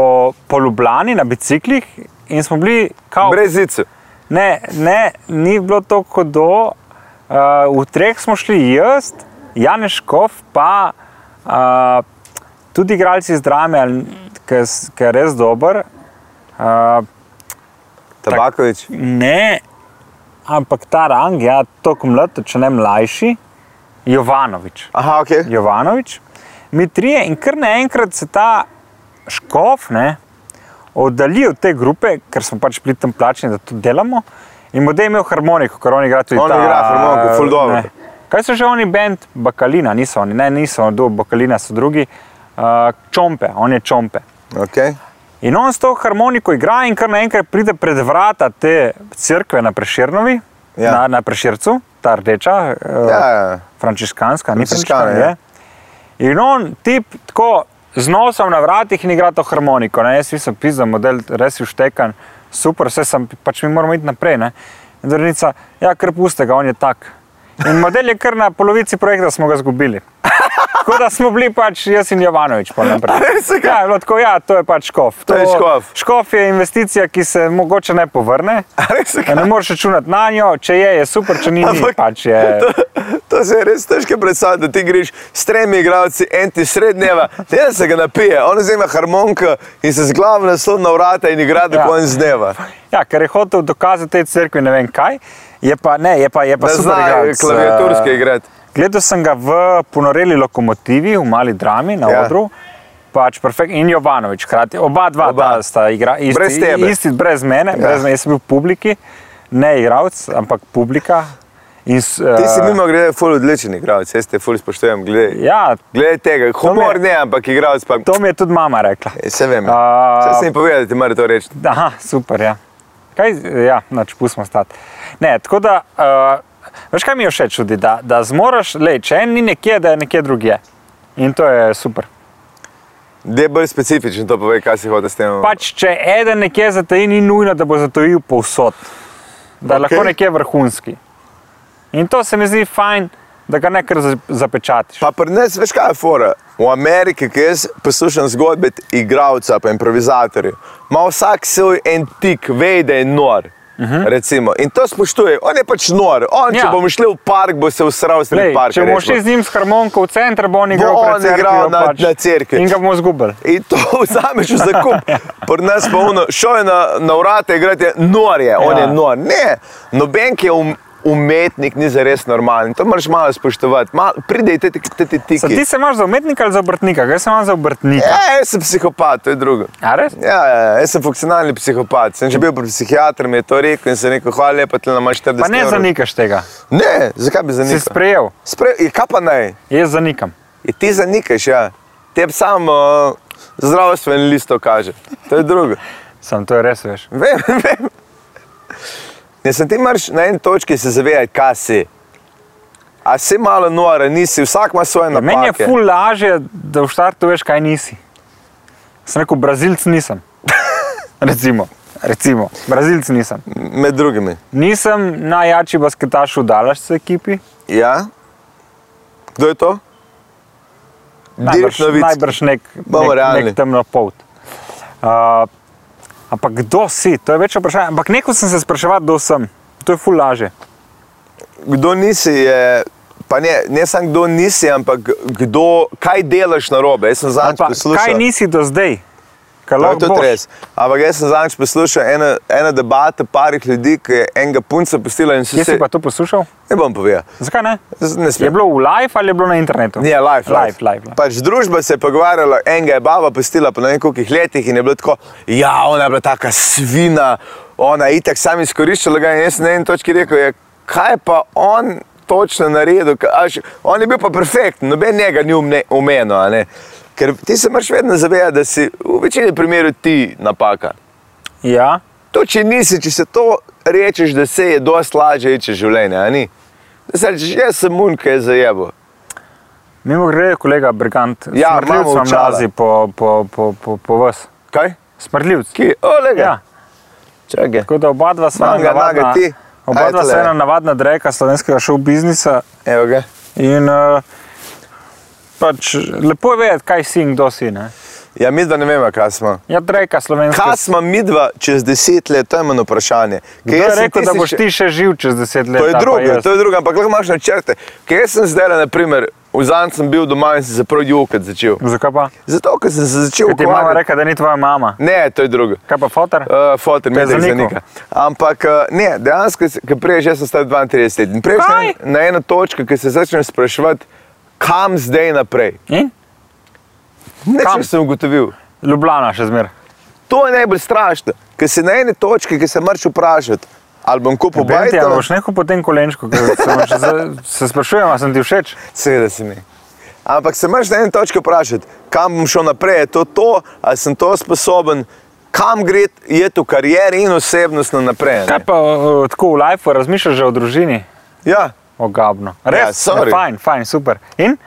[SPEAKER 3] po Ljubljani na biciklih in smo bili kao.
[SPEAKER 2] Brez zice.
[SPEAKER 3] Ne, ne, ni bilo to hodo. Uh, v treh smo šli jaz, Janeš Kov, pa uh, tudi igralci iz drame, ali- ki s- ki je res dober. Uh,
[SPEAKER 2] Tabakovič.
[SPEAKER 3] ne, ampak ta rang, ja, tako mlad, če ne mlajši, Jovanovič.
[SPEAKER 2] Aha, ok.
[SPEAKER 3] Jovanovič, mi trije in kar naenkrat se ta škof ne, oddalji od te grupe, ker smo pač bili tam plačeni, da to delamo. In model je imel harmoniko, ker on igra tudi
[SPEAKER 2] On
[SPEAKER 3] ta,
[SPEAKER 2] igra harmoniko, ful
[SPEAKER 3] ne.
[SPEAKER 2] dobro.
[SPEAKER 3] Kaj so že oni bend, Bakalina, niso oni, ne, niso, do Bakalina so drugi, uh, čompe, on je čompe.
[SPEAKER 2] okay.
[SPEAKER 3] In on s to harmoniko igra, in kar naenkrat pride pred vrata te cerkve na Preširnovi,
[SPEAKER 2] Ja.
[SPEAKER 3] ja. na, na Prešircu, ta rdeča, uh,
[SPEAKER 2] Ja, ja.
[SPEAKER 3] frančiškanska, ni
[SPEAKER 2] Frančiškana, ja.
[SPEAKER 3] frančiškana. je. In on tip tako z nosom na vratih in igra to harmoniko. Ne? Jaz sem pisal, model res je vštekan, super, vse sem, pač mi moramo iti naprej. Ne? In drnica, ja, kar puste ga, on je tak. In model je kar na polovici projekta smo ga izgubili. Tako da smo bili pač jaz in Jovanovič. pol naprej. Ja, je bilo tako, ja, to je pač škof.
[SPEAKER 2] To je škof.
[SPEAKER 3] Škof je investicija, ki se mogoče ne povrne.
[SPEAKER 2] A res je
[SPEAKER 3] Ne moreš računati na njo, če je, je super, če ni, ni
[SPEAKER 2] Ampak
[SPEAKER 3] pač je.
[SPEAKER 2] To se je res težko predstavljati, da ti greš s tremi igravci, en ti srednjeva, ne da se ga napije, on vzame harmoniko in se z glavo naslov na vrata in igra do
[SPEAKER 3] Ja.
[SPEAKER 2] konca dneva.
[SPEAKER 3] Ja, ker je hotel dokazati tej cerkvi ne vem kaj, je pa ne, je pa, je pa
[SPEAKER 2] Da
[SPEAKER 3] super
[SPEAKER 2] zna
[SPEAKER 3] igralec.
[SPEAKER 2] klaviaturske
[SPEAKER 3] Eh,
[SPEAKER 2] igrati.
[SPEAKER 3] Gledal sem ga v ponoreli lokomotivi, v mali drami na
[SPEAKER 2] Ja.
[SPEAKER 3] ja. odru. Pač perfekt in Jovanovič, hkrati. Oba dva
[SPEAKER 2] Oba.
[SPEAKER 3] oba. sta igra, isti,
[SPEAKER 2] Brez tebe.
[SPEAKER 3] Isti, brez mene, ja. brez mene, jaz sem bil v publiki, ne igralec, ampak publika. In, s-
[SPEAKER 2] Ti si
[SPEAKER 3] eh,
[SPEAKER 2] mimo grede ful odličen igralec, jaz te ful spoštujem, glede.
[SPEAKER 3] Ja,
[SPEAKER 2] Glede tega, humor ne, ampak igralec pa.
[SPEAKER 3] to mi je tudi mama rekla.
[SPEAKER 2] Se vem,
[SPEAKER 3] A-
[SPEAKER 2] vse sem jim povedal, da ti mora to reči.
[SPEAKER 3] Aha, super, ja. Kaj, ja, nač pustimo stati. Ne, tako da, uh, veš kaj mi je všeč tudi, da, da zmoraš, le, če en ni nekje, da je nekje drugje. In to je super.
[SPEAKER 2] Da je bolj specifičen, to pove, kaj si hoče s tem.
[SPEAKER 3] Pač, če eden nekje zataji, ni nujno, da bo zatajil povsod. Da je okay. lahko
[SPEAKER 2] Okej.
[SPEAKER 3] nekje vrhunski. In to se mi zdi fajn, da ga ne kar za- zapečatiš.
[SPEAKER 2] Pa pri nas, veš kaj je fora? V Ameriki, ki jaz poslušam zgodbe igralca, pa improvizatorjev, ima vsak svoj en tik, ve, da je nor. Uh -huh. Recimo. In to spoštuje, on je pač nor. On, ja. Če
[SPEAKER 3] Mhm. Ja.
[SPEAKER 2] bomo šli v park, bo se usral sredi
[SPEAKER 3] Lej,
[SPEAKER 2] parka.
[SPEAKER 3] če bomo
[SPEAKER 2] recimo.
[SPEAKER 3] šli z njim s harmoniko v center, bo on igral, pred
[SPEAKER 2] on igral
[SPEAKER 3] cerkvijo pač.
[SPEAKER 2] na- na cerkvi.
[SPEAKER 3] In ga bomo izgubili.
[SPEAKER 2] In to vzameš v zakup. Pri nas pa ono, šel je na, na vrata igrati, nor je, on
[SPEAKER 3] Ja.
[SPEAKER 2] je nor. Ne, noben, ki je um, umetnik, ni zares normalen. To moraš malo spoštovati. Mal, pride ti ti ti ti
[SPEAKER 3] Sa, ti
[SPEAKER 2] tiki.
[SPEAKER 3] se imaš za umetnika ali za obrtnika? Jaz se imam za obrtnika.
[SPEAKER 2] Ja, jaz sem psihopat, to je drugo.
[SPEAKER 3] A res?
[SPEAKER 2] Ja, ja, ja, jaz sem funkcionalni psihopat. Sem že bil pri psihiatru, mi je to rekel in sem rekel, hvala lepa, tle imaš 40
[SPEAKER 3] Pa ne
[SPEAKER 2] evrov."
[SPEAKER 3] zanikaš tega,
[SPEAKER 2] Ne, zakaj bi
[SPEAKER 3] si
[SPEAKER 2] zanikal?
[SPEAKER 3] sprejel,
[SPEAKER 2] Spre... Ja, kaj pa naj?
[SPEAKER 3] jaz zanikam.
[SPEAKER 2] Je ti zanikaš, ja. Tebi sam uh, zdravstveni listo kaže. To je drugo.
[SPEAKER 3] Sam to je res, veš.
[SPEAKER 2] Vem, vem. Ne, sem ti marš na eni točki se zavedati, kaj si. A si malo nora, nisi, vsak ima svoje napake.
[SPEAKER 3] Ja, Meni je ful lažje, da v startu veš, kaj nisi. Sem rekel, brazilc nisem. Recimo, recimo brazilc nisem.
[SPEAKER 2] Med drugimi.
[SPEAKER 3] Nisem najjačji basketaš v Dalašce ekipi,
[SPEAKER 2] Ja? Kdo je to?
[SPEAKER 3] najbrž,
[SPEAKER 2] Dirk Novic.
[SPEAKER 3] najbrž nek,
[SPEAKER 2] Bomo realni.
[SPEAKER 3] nek, nek temno polt. Uh, ampak kdo si, to je več vprašanje. Ampak neko sem se spraševal, kdo sem. To je ful lažje.
[SPEAKER 2] kdo nisi, je, pa ne, ne samo kdo nisi, ampak kdo, kaj delaš na robe. Jaz sem zadnjič
[SPEAKER 3] Ampak
[SPEAKER 2] poslušal.
[SPEAKER 3] kaj nisi do zdaj?
[SPEAKER 2] To
[SPEAKER 3] Kaj
[SPEAKER 2] je
[SPEAKER 3] lahko
[SPEAKER 2] tudi
[SPEAKER 3] boš?
[SPEAKER 2] res. Ampak jaz sem zadnjič poslušal eno, eno debato parih ljudi, ki je enega punca pustila in so
[SPEAKER 3] Kje
[SPEAKER 2] se.
[SPEAKER 3] si pa to poslušal?
[SPEAKER 2] Ne bom povedal.
[SPEAKER 3] Zakaj ne?
[SPEAKER 2] Z- Ne
[SPEAKER 3] Je
[SPEAKER 2] smem.
[SPEAKER 3] bilo v live ali je bilo na internetu?
[SPEAKER 2] Ne, Ja, life,
[SPEAKER 3] live, live, live.
[SPEAKER 2] Pač družba se je pogovarjala, enega je baba postila po ne vem koliko letih in je bilo tako, ja, ona je bila taka svina, ona je itak sam izkoriščala ga in jaz sem na eni točki rekel, je, kaj je pa on točno naredil, ka- a še- on je bil pa perfekten, noben njega ni umne- omenil, a ne. ker ti se moraš vedno zavedati, da si v večini primerov ti napaka.
[SPEAKER 3] Ja,
[SPEAKER 2] To, če nisi, če se to rečeš, da se je dosti lažje iti življenje, a ni? Da se rečeš, jaz sem mun, ki je zajebo.
[SPEAKER 3] mimo grede, kolega Brigant,
[SPEAKER 2] Ja,
[SPEAKER 3] smrdljivc
[SPEAKER 2] imamo
[SPEAKER 3] vam
[SPEAKER 2] očala.
[SPEAKER 3] lazi po, po, po, po, po vas.
[SPEAKER 2] Kaj?
[SPEAKER 3] Smrdljivc.
[SPEAKER 2] Ki, olega.
[SPEAKER 3] Ja,
[SPEAKER 2] Čakaj.
[SPEAKER 3] tako da oba dva sta
[SPEAKER 2] Imam ga,
[SPEAKER 3] navadna,
[SPEAKER 2] Naga, ti?
[SPEAKER 3] oba
[SPEAKER 2] Aj,
[SPEAKER 3] dva sta
[SPEAKER 2] tule.
[SPEAKER 3] ena navadna dreka slovenskega šov biznisa
[SPEAKER 2] Evo ga.
[SPEAKER 3] in uh, pač lepo je vedeti, kaj si in kdo si. Ne?
[SPEAKER 2] Ja, mi dva ne vemo, kaj smo.
[SPEAKER 3] Ja, dreka slovenskega.
[SPEAKER 2] Kaj smo mi dva čez deset let, to je meni vprašanje. Ker
[SPEAKER 3] Kdo
[SPEAKER 2] jaz
[SPEAKER 3] je
[SPEAKER 2] sem
[SPEAKER 3] rekel, da
[SPEAKER 2] tisti
[SPEAKER 3] boš
[SPEAKER 2] še-
[SPEAKER 3] ti še živ čez deset let?
[SPEAKER 2] To je
[SPEAKER 3] ali pa
[SPEAKER 2] drugo,
[SPEAKER 3] jaz?
[SPEAKER 2] to je drugo, ampak lahko imaš načrte. Ker jaz sem zdaj, naprimer, v zadnjem sem bil doma in sem se prav jokati začel.
[SPEAKER 3] Zakaj pa?
[SPEAKER 2] Zato, ker sem se začel
[SPEAKER 3] Kaj ti je mama
[SPEAKER 2] ukvarjati.
[SPEAKER 3] rekla, da ni tvoja mama?
[SPEAKER 2] Ne, to je drugo.
[SPEAKER 3] Kaj pa fotor?
[SPEAKER 2] Uh, Fotor,
[SPEAKER 3] je
[SPEAKER 2] ne za
[SPEAKER 3] zanikal.
[SPEAKER 2] nekaj. Ampak uh, ne, dejansko, ko prej že sem star 32 let in prej sem
[SPEAKER 3] Kaj?
[SPEAKER 2] na eno točko, ki se začnem spraševati, kam zdaj naprej.
[SPEAKER 3] In? Kam?
[SPEAKER 2] Nekaj sem ugotovil.
[SPEAKER 3] Ljubljana še zmeraj.
[SPEAKER 2] To je najbolj strašno, ker si na eni točki, ki se moraš vprašati, ali bom kupil
[SPEAKER 3] Povej ti, ali
[SPEAKER 2] bajto,
[SPEAKER 3] boš nehal potem kolenčko, ker se, imaš za- se sprašujem, ali sem ti všeč.
[SPEAKER 2] seveda si ne. Ampak se moraš na eni točki vprašati, kam bom šel naprej, je to to, ali sem to sposoben, kam gre, je to karier in osebnostno naprej.
[SPEAKER 3] Kaj
[SPEAKER 2] ne.
[SPEAKER 3] pa eh, tako v lifeu razmišljaš že o družini?
[SPEAKER 2] Ja,
[SPEAKER 3] Ogabno.
[SPEAKER 2] Ja,
[SPEAKER 3] Res,
[SPEAKER 2] sorry.
[SPEAKER 3] fajn, fajn, super. In?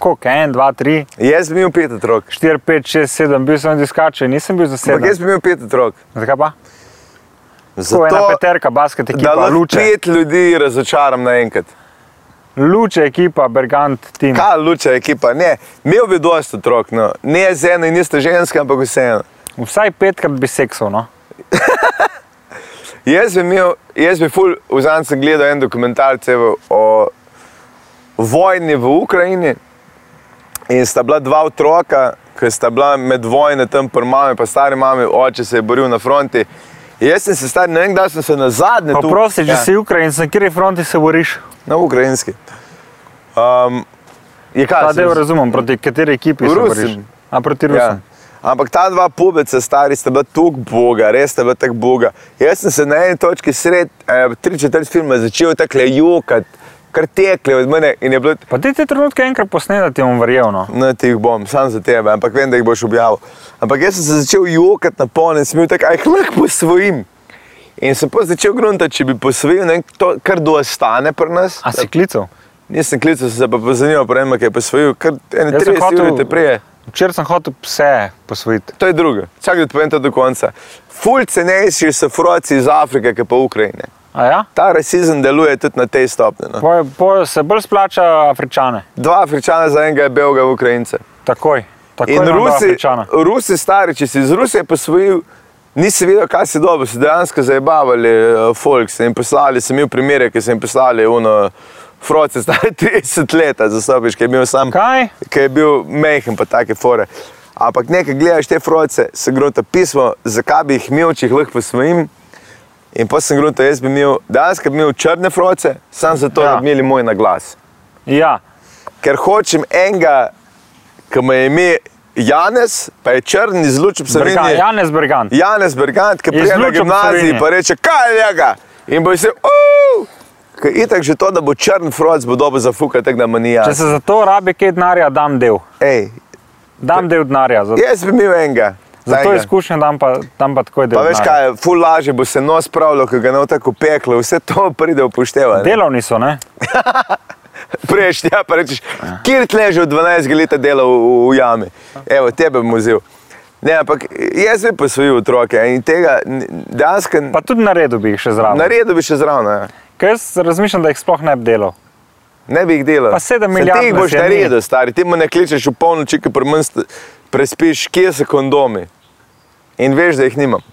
[SPEAKER 3] Koliko? En, dva, tri,
[SPEAKER 2] jaz bi imel pet otrok.
[SPEAKER 3] štiri, pet, šest, sedem, bil sem diskače, nisem bil za
[SPEAKER 2] Ampak jaz
[SPEAKER 3] sedem.
[SPEAKER 2] bi imel pet otrok.
[SPEAKER 3] Zakaj pa? Tako ena
[SPEAKER 2] Zato,
[SPEAKER 3] peterka, basket
[SPEAKER 2] da
[SPEAKER 3] ekipa,
[SPEAKER 2] lahko
[SPEAKER 3] luče.
[SPEAKER 2] pet ljudi razočaram naenkrat.
[SPEAKER 3] Luče ekipa, Bergant, tim.
[SPEAKER 2] Kaj luča ekipa? Ne, imel bi dosta otrok, no. ne z eno in isto žensko, ampak vseeno.
[SPEAKER 3] Vsaj petkrat bi seksal, no.
[SPEAKER 2] Jaz bi imel, jaz bi ful, vzan sem gledal en dokumentarce o vojni v Ukrajini in sta bila dva otroka, ki sta bila med vojne tam pri mami, pa stari mami, oče se je boril na fronti. Jaz sem se star, ne vem, kdaj sem se na zadnje. tu- Ja,
[SPEAKER 3] Poprosti, če si Ukrajinec, na kateri fronti se boriš?
[SPEAKER 2] Na ukrajinski. Um, je kaj?
[SPEAKER 3] Ta
[SPEAKER 2] se-
[SPEAKER 3] del razumem, proti kateri ekipi se
[SPEAKER 2] Rusim.
[SPEAKER 3] boriš. A proti
[SPEAKER 2] Ja.
[SPEAKER 3] Rusom.
[SPEAKER 2] Ampak ta dva pubeca, stari, sta bila tako boga, res sta bila tako boga. Jaz sem se na eni točki sred, eh, tri četrt filma začel tako jokati, kar tekle od mene in je bilo,
[SPEAKER 3] Pa ti te trenutke enkrat posnel, da ti bom verjel. No.
[SPEAKER 2] no ti jih bom, sam za tebe, ampak vem, da jih boš objavil. Ampak jaz sem se začel jokati na polno in sem bil tak, aj jih lahko posvojim. In sem pa začel gruntati, če bi posvojil, ne, vem, to kar do ostane pri nas.
[SPEAKER 3] A si klical?
[SPEAKER 2] Nisem klical, sem se pa pozanimal, prej ima, ki je posvojil, kar ene
[SPEAKER 3] Jaz sem
[SPEAKER 2] 30
[SPEAKER 3] hotel-
[SPEAKER 2] ur te prije.
[SPEAKER 3] Včeraj sem hotel pse posvojiti.
[SPEAKER 2] To je drugo. Čakaj, da povem to do konca. Ful cenejši so froci iz Afrike, kot pa Ukrajine.
[SPEAKER 3] A Ja?
[SPEAKER 2] Ta rasizem deluje tudi na tej stopni. No.
[SPEAKER 3] Po, po, se bolj splača Afričane.
[SPEAKER 2] Dva Afričana za enega je belga Ukrajinca.
[SPEAKER 3] Takoj. Takoj
[SPEAKER 2] In
[SPEAKER 3] imam dva
[SPEAKER 2] Rusi,
[SPEAKER 3] Afričana.
[SPEAKER 2] Rusi stari, če si iz Rusije posvojil, nisi videl, kaj si dobil, so dejansko zajebavali eh, Folks in poslali sem jim primere, ki sem jim poslali uno. Froci stari 30 let, zasobiš, ki je bil sam.
[SPEAKER 3] Kaj?
[SPEAKER 2] ki je bil mehen, pa take fore. Ampak nekaj gledaš te froce, se grota pismo, zakaj bi jih imel, če jih lahko posvojim. In pa sem grota, jaz bi imel, danes bi imel črne froce, samo zato, ja.
[SPEAKER 3] Ja.
[SPEAKER 2] da bi imeli moj naglas.
[SPEAKER 3] Ja.
[SPEAKER 2] Ker hočem enega, ki mu je ime Janes, pa je črn iz Lučem
[SPEAKER 3] Bergan,
[SPEAKER 2] Slovenije.
[SPEAKER 3] Janez Bergan.
[SPEAKER 2] Janes Bergant, ki
[SPEAKER 3] ja. Iz
[SPEAKER 2] prije na
[SPEAKER 3] Luče ob
[SPEAKER 2] gimnaziji
[SPEAKER 3] Sloveniji.
[SPEAKER 2] pa reče, kaj je njega. In bo se, uuu, ker itak že to, da bo črn froc, bo dobo zafukal, tako da manija.
[SPEAKER 3] Če se za to rabi kaj denarja, dam del.
[SPEAKER 2] Ej, Ja.
[SPEAKER 3] Dam del denarja. Za,
[SPEAKER 2] jaz bi imel enega.
[SPEAKER 3] za to
[SPEAKER 2] tajnega.
[SPEAKER 3] izkušnjo dam pa, dam pa takoj del.
[SPEAKER 2] Pa veš
[SPEAKER 3] denarja.
[SPEAKER 2] kaj, ful lažje bo se nos pravilo, ki ga ne bo tako peklo, vse to pride upoštevati.
[SPEAKER 3] Delovni so, ne?
[SPEAKER 2] Prejšnji, ja, pa rečeš, kjer tle že od 12 let dela v, v jami, evo, tebe bom vzel. Ne, ampak jaz bi posvojil otroke in tega n- dejansko n-
[SPEAKER 3] Pa tudi na redu bi jih še zraven.
[SPEAKER 2] naredil bi še zraven. ja.
[SPEAKER 3] Ker jaz razmišljam, da jih sploh ne bi delal.
[SPEAKER 2] Ne bi jih delal.
[SPEAKER 3] Pa sedem
[SPEAKER 2] Saj
[SPEAKER 3] milijard
[SPEAKER 2] Ti jih
[SPEAKER 3] nas
[SPEAKER 2] boš
[SPEAKER 3] je, ni.
[SPEAKER 2] naredil, stari, ti mu ne kličeš v polnoči, ki pri meni sta- prespiš, kje so kondomi. In veš, da jih nimam.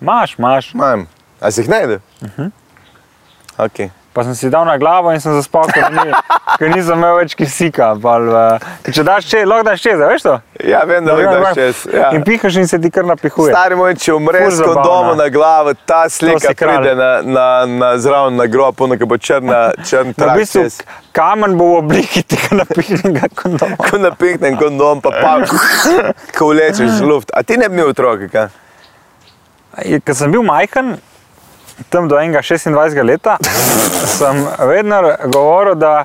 [SPEAKER 3] Maš, maš.
[SPEAKER 2] Imam. A si jih najdel? Uh
[SPEAKER 3] Mhm.
[SPEAKER 2] -huh. okay.
[SPEAKER 3] Pa sem si dal na glavo in sem zaspal, ker, ni, ker nisem imel več kisika. Pa, uh, če daš če, lahko daš če, veš to?
[SPEAKER 2] Ja, vem, da lahko daš čez. Ja.
[SPEAKER 3] In pihaš in se ti kar napihuje.
[SPEAKER 2] Stari moj, če
[SPEAKER 3] Ful
[SPEAKER 2] umreš kot
[SPEAKER 3] zabavna.
[SPEAKER 2] domo na glavo, ta slika
[SPEAKER 3] si kralj.
[SPEAKER 2] pride na, na, na zraven na grob, onako bo črna, črn
[SPEAKER 3] Na
[SPEAKER 2] trak.
[SPEAKER 3] bistvu
[SPEAKER 2] čez.
[SPEAKER 3] kamen bo v obliki tega napihnjenega kondoma.
[SPEAKER 2] Ko napihnem kondom, pa pa ko vlečeš z luft. A ti ne bi imel otroka, kaj?
[SPEAKER 3] Je, Ko sem bil majhen, tam do enega 26 leta, sem vedno govoril, da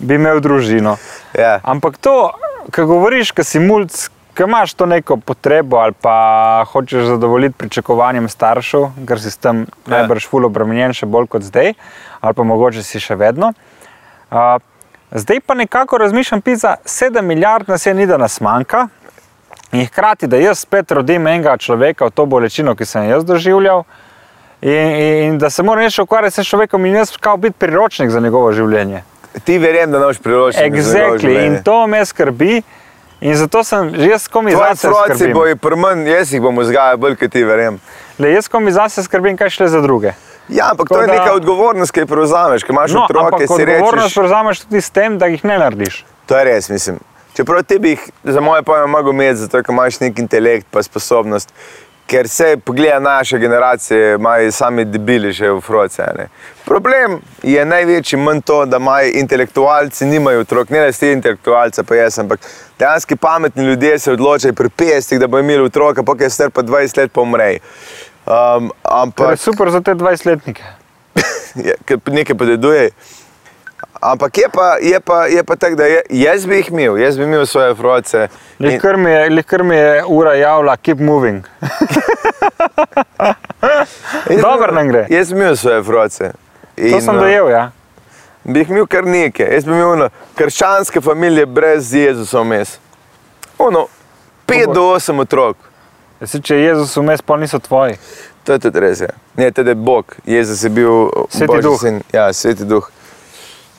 [SPEAKER 3] bi imel družino.
[SPEAKER 2] Ja.
[SPEAKER 3] Ampak to, ko govoriš, ko si mulj, ko imaš to neko potrebo ali pa hočeš zadovoljiti pričakovanjem staršev, ker si s tem najbrž ful obremenjen, še bolj kot zdaj, ali pa mogoče si še vedno. Uh, zdaj pa nekako razmišljam, pizza, 7 milijard nas je, ni da nas manjka. In hkrati, da jaz spet rodim enega človeka v to bolečino, ki sem jo jaz doživljal, in, in, in da se moram jaz še ukvarjati s človekom in jaz kao biti priročnik za njegovo življenje.
[SPEAKER 2] Ti verjamem, da noš priložnost.
[SPEAKER 3] Exactly. In to me skrbi, in zato sem že jaz komi
[SPEAKER 2] Tvoji
[SPEAKER 3] zase
[SPEAKER 2] otroci
[SPEAKER 3] skrbim.
[SPEAKER 2] bojo prmen, jaz jih bom vzgajal bolj, kot ti verjamem.
[SPEAKER 3] Le, jaz komi zase skrbim, kaj šle za druge.
[SPEAKER 2] Ja, ampak to
[SPEAKER 3] Tako
[SPEAKER 2] je
[SPEAKER 3] da-
[SPEAKER 2] neka odgovornost, ki jo prevzameš, ko imaš
[SPEAKER 3] No,
[SPEAKER 2] otroke,
[SPEAKER 3] ampak
[SPEAKER 2] si
[SPEAKER 3] odgovornost
[SPEAKER 2] rečeš.
[SPEAKER 3] prevzameš tudi s tem, da jih ne narediš.
[SPEAKER 2] To je res, mislim. Čeprav ti bi jih, za moje pojme, mogo imeti, zato ker imaš nek intelekt in sposobnost. Ker se pogleda naše generacije, imajo sami debili že v Franciji. a ne. Problem je največji manj to, da imajo intelektualci, nimajo otrok, ne le ste intelektualci, pa jaz, ampak dejansko pametni ljudje se odločajo pri 50, da bodo imeli otroka, pa ki je star pa 20 let, pa umrejo. Um,
[SPEAKER 3] To
[SPEAKER 2] ampak
[SPEAKER 3] je super za te 20-letnike.
[SPEAKER 2] je, ker Ja, nekaj podeduje. Ampak je pa, je pa, je pa tako, da je, jaz bi jih imel, jaz bi imel svoje vroce. In,
[SPEAKER 3] Likr mi, je- lih kar mi je ura javila, keep moving. Dobro nam gre.
[SPEAKER 2] jaz bi imel svoje vroce.
[SPEAKER 3] To
[SPEAKER 2] eh,
[SPEAKER 3] sem dojel, ja.
[SPEAKER 2] Bi jih imel kar nekaj, jaz bi imel no, krščanske družine brez Jezusa vmes. Ono, 5 do 8 otrok,
[SPEAKER 3] Jaz, če je Jezus vmes, pa niso tvoji.
[SPEAKER 2] to je tudi res. Je. Ne, tudi je Bog, Jezus je bil
[SPEAKER 3] Sveti
[SPEAKER 2] Božji
[SPEAKER 3] duh.
[SPEAKER 2] sin. Ja, sveti duh.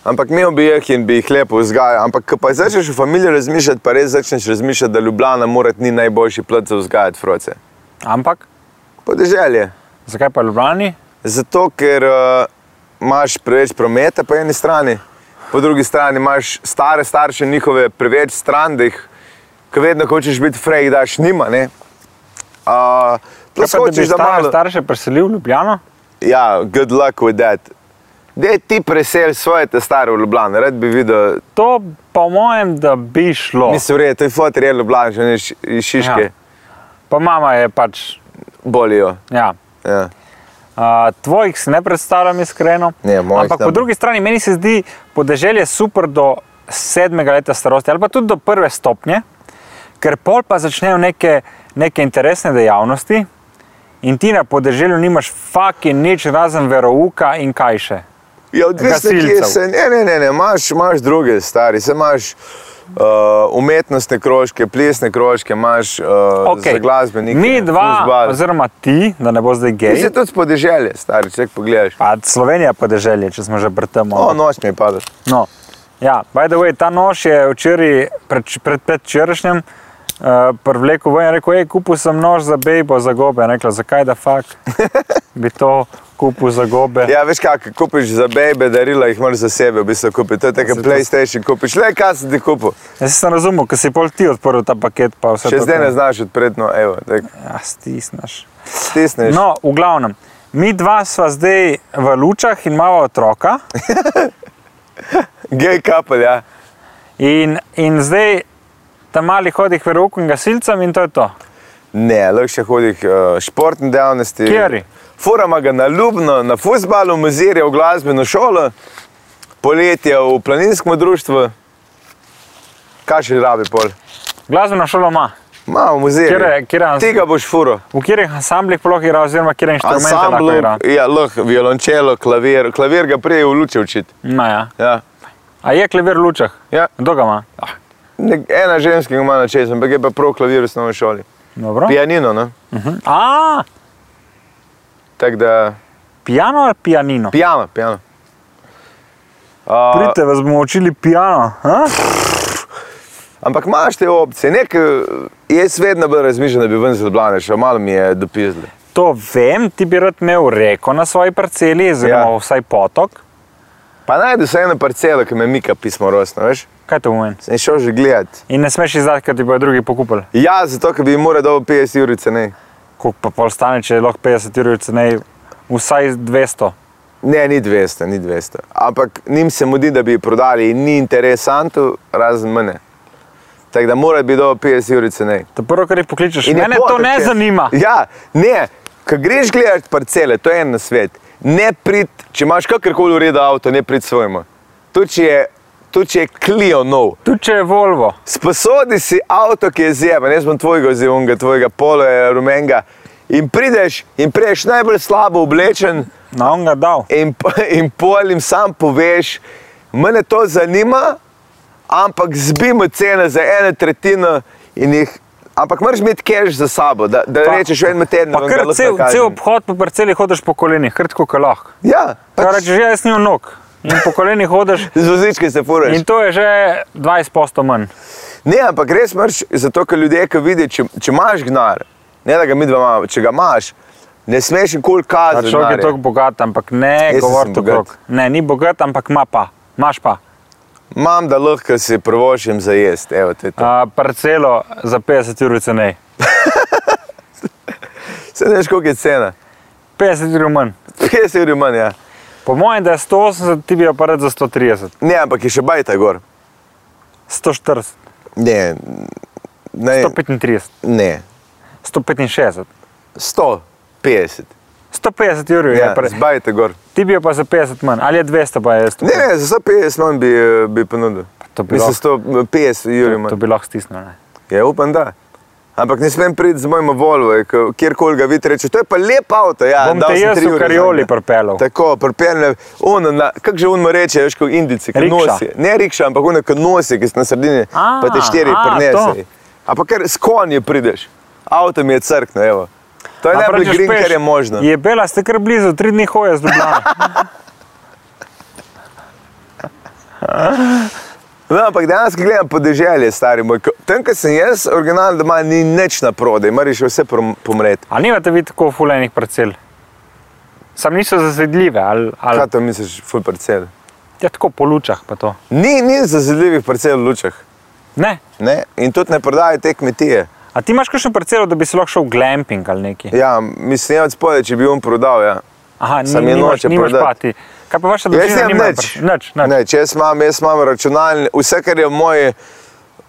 [SPEAKER 2] Ampak imel bi jih in bi jih lepo vzgajal. Ampak, ko pa začneš v familiji razmišljati, pa res začneš razmišljati, da Ljubljana mora ni najboljši plod za vzgajati froce.
[SPEAKER 3] Ampak,
[SPEAKER 2] Podeželje.
[SPEAKER 3] zakaj pa Ljubljani?
[SPEAKER 2] Zato, ker uh, imaš preveč prometa po eni strani, po drugi strani imaš stare starše, njihove preveč stran, da jih, ko vedno ko hočeš biti frej, daš njima. ne. Uh,
[SPEAKER 3] Kaj
[SPEAKER 2] plus
[SPEAKER 3] Ja, pa, da bi
[SPEAKER 2] hočeš, da
[SPEAKER 3] stare
[SPEAKER 2] malo.
[SPEAKER 3] starše preselil v Ljubljano?
[SPEAKER 2] Ja, good luck with that. Dej ti presel svoje te stare v Ljubljano, rad bi videl,
[SPEAKER 3] To po mojem, da bi šlo.
[SPEAKER 2] mislim, re, to je fotor, je Ljubljana, že ne š- iz Šiške, ja.
[SPEAKER 3] Ja. Pa mama je pač.
[SPEAKER 2] bolijo.
[SPEAKER 3] Ja.
[SPEAKER 2] Ja.
[SPEAKER 3] A, tvojih si ne predstavljam iskreno.
[SPEAKER 2] Ne, mojih
[SPEAKER 3] Ampak
[SPEAKER 2] ne
[SPEAKER 3] po
[SPEAKER 2] bo.
[SPEAKER 3] drugi strani meni se zdi podeželje super do sedmega leta starosti ali pa tudi do prve stopnje, ker pol pa začnejo neke, neke interesne dejavnosti in ti na podeželju nimaš faki nič razen verouka in kaj še.
[SPEAKER 2] Ja, odvisno je, kje
[SPEAKER 3] Gasilcev.
[SPEAKER 2] se. Ne, ne, ne, ne. Imaš, imaš druge stvari, se imaš uh, umetnostne krožke, plesne krožke, imaš uh, okay. glasbenike.
[SPEAKER 3] Mi dva,
[SPEAKER 2] fuzbal.
[SPEAKER 3] oziroma ti, da ne bo zdaj
[SPEAKER 2] Ti
[SPEAKER 3] gej.
[SPEAKER 2] si tudi podeželje, stari, če pogledaš.
[SPEAKER 3] Pa Slovenija je podeželje, če smo že pri tem.
[SPEAKER 2] O, noč mi je padel.
[SPEAKER 3] No, ja, by the way, ta nož je včeraj, pred, pred, predčerajšnjim, uh, privlekel ven in rekel: hej, kupil sem nož za bejbo, za gobe. Je Rekla, zakaj da fakt bi to kupil za gobe?
[SPEAKER 2] Ja, veš kaj, ko kupiš za bebe darila, jih moraš za sebe v bistvu kupiti. To je
[SPEAKER 3] Ja,
[SPEAKER 2] tako kot PlayStation, kupiš le kaj si ti kupil.
[SPEAKER 3] Jaz sem razumel, ker si pol ti odprl ta paket, pa vse
[SPEAKER 2] Še
[SPEAKER 3] to,
[SPEAKER 2] zdaj
[SPEAKER 3] kar-
[SPEAKER 2] ne znaš odpreti, no, evo, tako
[SPEAKER 3] Ja, stisneš.
[SPEAKER 2] stisneš.
[SPEAKER 3] No, v glavnem. Mi dva sva zdaj v lučah in imamo otroka.
[SPEAKER 2] Gej kapel, ja.
[SPEAKER 3] In, in zdaj tam mali hodi k verovku in gasilcem in to je to.
[SPEAKER 2] Ne, lahko še hodih uh, športne dejavnosti.
[SPEAKER 3] Kateri?
[SPEAKER 2] Furama ga na Ljubno, na futbalu, muzirje v glasbeno šolo, poletje v planinskem društvu. Kaj še rabi pol?
[SPEAKER 3] Glasbeno šolo ima.
[SPEAKER 2] Malo muzirje.
[SPEAKER 3] Kjere- kjere ans-
[SPEAKER 2] Tega boš furo.
[SPEAKER 3] V katerih ansamblih ploh igra, oziroma kjer inštrumente lahko igra.
[SPEAKER 2] ja, lahko violončelo, klavir. Klavir ga prej v luči učiti.
[SPEAKER 3] No, ja.
[SPEAKER 2] Ja.
[SPEAKER 3] A je klavir v lučah?
[SPEAKER 2] Ja.
[SPEAKER 3] Kdo ga ima?
[SPEAKER 2] Nek- Ena ženska ga ima na čez, ampak je pa prav klavir v osnovni šoli.
[SPEAKER 3] Dobro.
[SPEAKER 2] Pianino, no?
[SPEAKER 3] A,
[SPEAKER 2] Tako da,
[SPEAKER 3] piano ali pianino?
[SPEAKER 2] pijano, pijano.
[SPEAKER 3] Pridite, vas bomo učili piano. ha?
[SPEAKER 2] Ampak imaš te opcije. Nek, eh, jaz vedno bolj razmišljam, da bi ven zelo blane, še malo mi je dopisalo.
[SPEAKER 3] To vem, ti bi rad imel reko na svoji parceli, oziroma
[SPEAKER 2] Ja.
[SPEAKER 3] ja. vsaj potok.
[SPEAKER 2] Pa najdi se eno parcelo, ki me mika pismo rosno, veš?
[SPEAKER 3] Kaj to pomeni?
[SPEAKER 2] Sem šel že gledat.
[SPEAKER 3] In ne smeš izdati, ker ti bodo drugi pokupili.
[SPEAKER 2] Ja, zato, ker bi jim moral dobo 50 ur cenej.
[SPEAKER 3] Koliko pa pol stane, če je lahko 50 ur cenej, vsaj 200.
[SPEAKER 2] Ne, ni 200, ni 200. Ampak njim se mudi, da bi jih prodali in ni interesantov, razen mene. Tako da mora biti dobo 50 ur cenej.
[SPEAKER 3] To prvo, kar jih pokličeš,
[SPEAKER 2] In je
[SPEAKER 3] mene to
[SPEAKER 2] potek,
[SPEAKER 3] ne
[SPEAKER 2] ker-
[SPEAKER 3] zanima.
[SPEAKER 2] Ja, ne, ko greš gledati parcele, to je en na svet. Ne prid, če imaš kakorkoli ureda avto, ne prid svojemu. Tu če je, tu če je Clio nov.
[SPEAKER 3] Tu če je Volvo,
[SPEAKER 2] Sposodi si avto, ki je zjeven, jaz bom tvojega zjevnega, tvojega polo je rumenga. In prideš in priješ najbolj slabo oblečen
[SPEAKER 3] na on ga dal.
[SPEAKER 2] in, p- in pol jim sam poveš, mene to zanima, ampak zbimo cene za eno tretjino in jih. Ampak moraš imeti keš za sabo, da, da
[SPEAKER 3] Pa-
[SPEAKER 2] rečeš, en teden
[SPEAKER 3] Pa
[SPEAKER 2] vam ga
[SPEAKER 3] kar
[SPEAKER 2] lahko
[SPEAKER 3] cel,
[SPEAKER 2] nakažem."
[SPEAKER 3] cel obhod po parceli hodiš po kolenih, krtko kalah.
[SPEAKER 2] Ja,
[SPEAKER 3] Pač...
[SPEAKER 2] pač,
[SPEAKER 3] Rečeš, jaz nisem nog in po kolenih hodiš.
[SPEAKER 2] z vozički se furaš.
[SPEAKER 3] In to je že 20% manj.
[SPEAKER 2] Ne, ampak res moraš, zato ker ljudje, ki vidijo, če, če imaš gnar, ne da ga mi dva imamo, če ga imaš, ne smeš nikoli kazati.
[SPEAKER 3] Človek je tako
[SPEAKER 2] denarja.
[SPEAKER 3] bogat, ampak ne
[SPEAKER 2] Jaz
[SPEAKER 3] govori
[SPEAKER 2] sem
[SPEAKER 3] tako
[SPEAKER 2] bogat.
[SPEAKER 3] krok. Ne, ni bogat, ampak ima pa. Imaš pa
[SPEAKER 2] Imam, da lahko si prvošim za jesti, evo te to.
[SPEAKER 3] a, parcelo za 50 ur cenej.
[SPEAKER 2] Se ne veš, koliko je cena.
[SPEAKER 3] 50 ur manj.
[SPEAKER 2] 50 ur je manj, ja.
[SPEAKER 3] Po mojem, da je 180, ti bi jo pa rad za 130,
[SPEAKER 2] Ne, ampak je še bajta gor.
[SPEAKER 3] 140,
[SPEAKER 2] Ne, ne,
[SPEAKER 3] 135,
[SPEAKER 2] ne.
[SPEAKER 3] 165,
[SPEAKER 2] 150.
[SPEAKER 3] 150 ur je
[SPEAKER 2] Ja,
[SPEAKER 3] pa.
[SPEAKER 2] Zbajte gor.
[SPEAKER 3] Ti bi jo pa za 50 manj, ali je 200 pa je 100.
[SPEAKER 2] Ne, ne, za 150 manj bi, eh, bi ponudil.
[SPEAKER 3] to bi
[SPEAKER 2] Mislim,
[SPEAKER 3] lahko-
[SPEAKER 2] 150 juri
[SPEAKER 3] To
[SPEAKER 2] manj.
[SPEAKER 3] bi lahko stisnil. Ne?
[SPEAKER 2] Ja, upam, da. Ampak ne smem priti z mojim Volvo, ko- kjerkoli ga vidiš, reče, to je pa lep avto. Ja,
[SPEAKER 3] Bom
[SPEAKER 2] dal
[SPEAKER 3] te
[SPEAKER 2] sem
[SPEAKER 3] jaz
[SPEAKER 2] tri
[SPEAKER 3] v
[SPEAKER 2] ure
[SPEAKER 3] karioli
[SPEAKER 2] zanj.
[SPEAKER 3] pripeljal.
[SPEAKER 2] Tako, pripelje, kako že unmo reče, veš, kot indici, ki
[SPEAKER 3] Rikša.
[SPEAKER 2] nosi. Ne rikša, ampak unmo, ki nosi, ki si na sredini,
[SPEAKER 3] A,
[SPEAKER 2] pa te štiri
[SPEAKER 3] a,
[SPEAKER 2] prenese.
[SPEAKER 3] to.
[SPEAKER 2] Ampak kar s konji prideš, avto mi je crkno, evo. To je
[SPEAKER 3] A
[SPEAKER 2] najbolj
[SPEAKER 3] praviš,
[SPEAKER 2] green,
[SPEAKER 3] peš,
[SPEAKER 2] kar je možno.
[SPEAKER 3] Je bila, ste kar blizu, tri dni hoje z Ljubljana.
[SPEAKER 2] No, ampak danes, ko gledam podeželje, stari moj, ko- tam, kjer sem jaz, originalno doma ni nič na prodaj, moraš vse prom- pomreti.
[SPEAKER 3] Ali nimate vi tako fulejnih parcel? Sam niso zazvedljive. Ali, ali,
[SPEAKER 2] Kaj to misliš, ful parcel?
[SPEAKER 3] ja, tako po lučah pa to.
[SPEAKER 2] Ni, ni zazidljivih parcel v lučah.
[SPEAKER 3] Ne.
[SPEAKER 2] Ne? In tudi ne prodajajo te kmetije.
[SPEAKER 3] A ti imaš kakšno parcelo, da bi si lahko šel v glamping ali nekaj?
[SPEAKER 2] Ja, mislim, od spodaj, če bi on prodal. Ja.
[SPEAKER 3] Aha, ni,
[SPEAKER 2] Sam je
[SPEAKER 3] nimaš,
[SPEAKER 2] noče
[SPEAKER 3] nimaš
[SPEAKER 2] prodati. Ja,
[SPEAKER 3] pati. Kaj pa vaša
[SPEAKER 2] Jaz
[SPEAKER 3] družina?
[SPEAKER 2] nimam
[SPEAKER 3] nima
[SPEAKER 2] nič.
[SPEAKER 3] pr- nič, nič.
[SPEAKER 2] Nič, jaz imam, jaz imam računalnik, vse, kar je moje,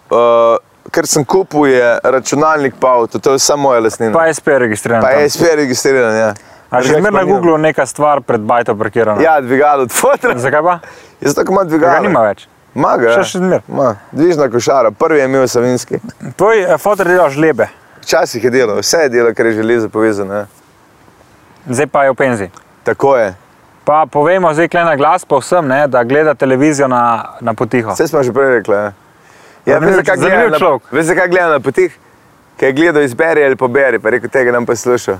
[SPEAKER 2] uh, kar sem kupil, je računalnik pa avto, to je samo moja lastnina.
[SPEAKER 3] Pa SP je registriran.
[SPEAKER 2] Pa
[SPEAKER 3] tam.
[SPEAKER 2] je SP registriran, ja.
[SPEAKER 3] A že
[SPEAKER 2] Drugače
[SPEAKER 3] zmeraj
[SPEAKER 2] pa
[SPEAKER 3] na
[SPEAKER 2] nimam.
[SPEAKER 3] Googlu neka stvar pred bajto parkirana.
[SPEAKER 2] Ja, dvigalo od fotra.
[SPEAKER 3] Zakaj pa?
[SPEAKER 2] Jaz tako imam
[SPEAKER 3] Ga
[SPEAKER 2] dvigalo.
[SPEAKER 3] nima več.
[SPEAKER 2] Ima ga.
[SPEAKER 3] Še
[SPEAKER 2] ja.
[SPEAKER 3] še zmer.
[SPEAKER 2] Ima. Dvižna košara, prvi je imel Savinski.
[SPEAKER 3] Tvoj eh, fotor dela žlebe,
[SPEAKER 2] Včasih je delal, vse je delal, kar je železo povezano. Ja.
[SPEAKER 3] zdaj pa je v penzi.
[SPEAKER 2] Tako je.
[SPEAKER 3] Pa povemo zdaj kle na glas pa vsem, ne, da gleda televizijo na, na potiho.
[SPEAKER 2] Vse smo že prej rekli. Ja, ja
[SPEAKER 3] Zanimiv-
[SPEAKER 2] veš, zakaj gleda
[SPEAKER 3] zanimiv
[SPEAKER 2] na,
[SPEAKER 3] človek.
[SPEAKER 2] veš, zakaj gleda na potih? Ker je gledal izberi ali poberi, pa je rekel tega nam pa sluša.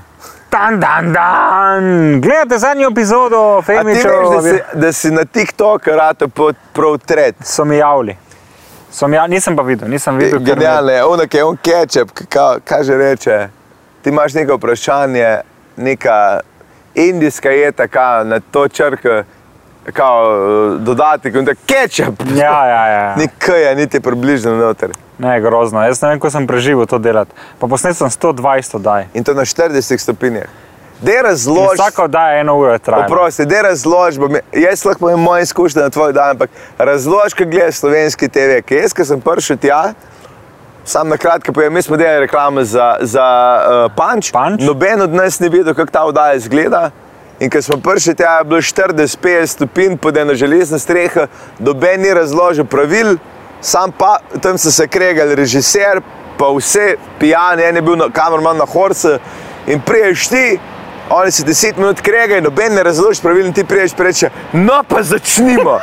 [SPEAKER 3] Dan, dan, dan. Gledate zadnjo epizodo
[SPEAKER 2] A ti
[SPEAKER 3] Femiča,
[SPEAKER 2] veš, da si, da si na TikToku rato pod prav tret.
[SPEAKER 3] so mi javili. So mi javili. Nisem pa videl, nisem videl. ker mi-
[SPEAKER 2] Genialno je, ono, ki je on kečep, kaj že reče. Ti imaš neko vprašanje, neka indijska jeta, ka, na to črko, kao eh, dodatek, in tako kečep.
[SPEAKER 3] Ja, ja, ja. ja.
[SPEAKER 2] Nikaj je, niti približno noter.
[SPEAKER 3] Ne, grozno. Jaz ne vem, kako sem preživel to delati. Pa posnel sem 120 oddaj.
[SPEAKER 2] In to na 40 stopinjah. Dej
[SPEAKER 3] In
[SPEAKER 2] razloži.
[SPEAKER 3] Vsaka oddaja eno uro je trajala.
[SPEAKER 2] Oprosti, da razloži, bom- jaz lahko povem moje izkušnje na tvoj dan, ampak razloži, kaj gledaš slovenski TV. Ker jaz, ki sem prišel tja, sam na kratko povem, mi smo delali reklame za, za uh, Punch.
[SPEAKER 3] Punch?
[SPEAKER 2] Noben od nas ni vedel, kako ta vdaja izgleda. In ker smo prišli tja, je bilo 40-50 stopinj pod eno železno streho, noben ni razložil pravil, sam pa tam so se kregali režiser, pa vse pijani, en je bil na, kamerman na horcu in priješ ti. Oni si 10 minut kregajo, noben ne razloži pravilno, ti priješ in reče: No, pa začnimo.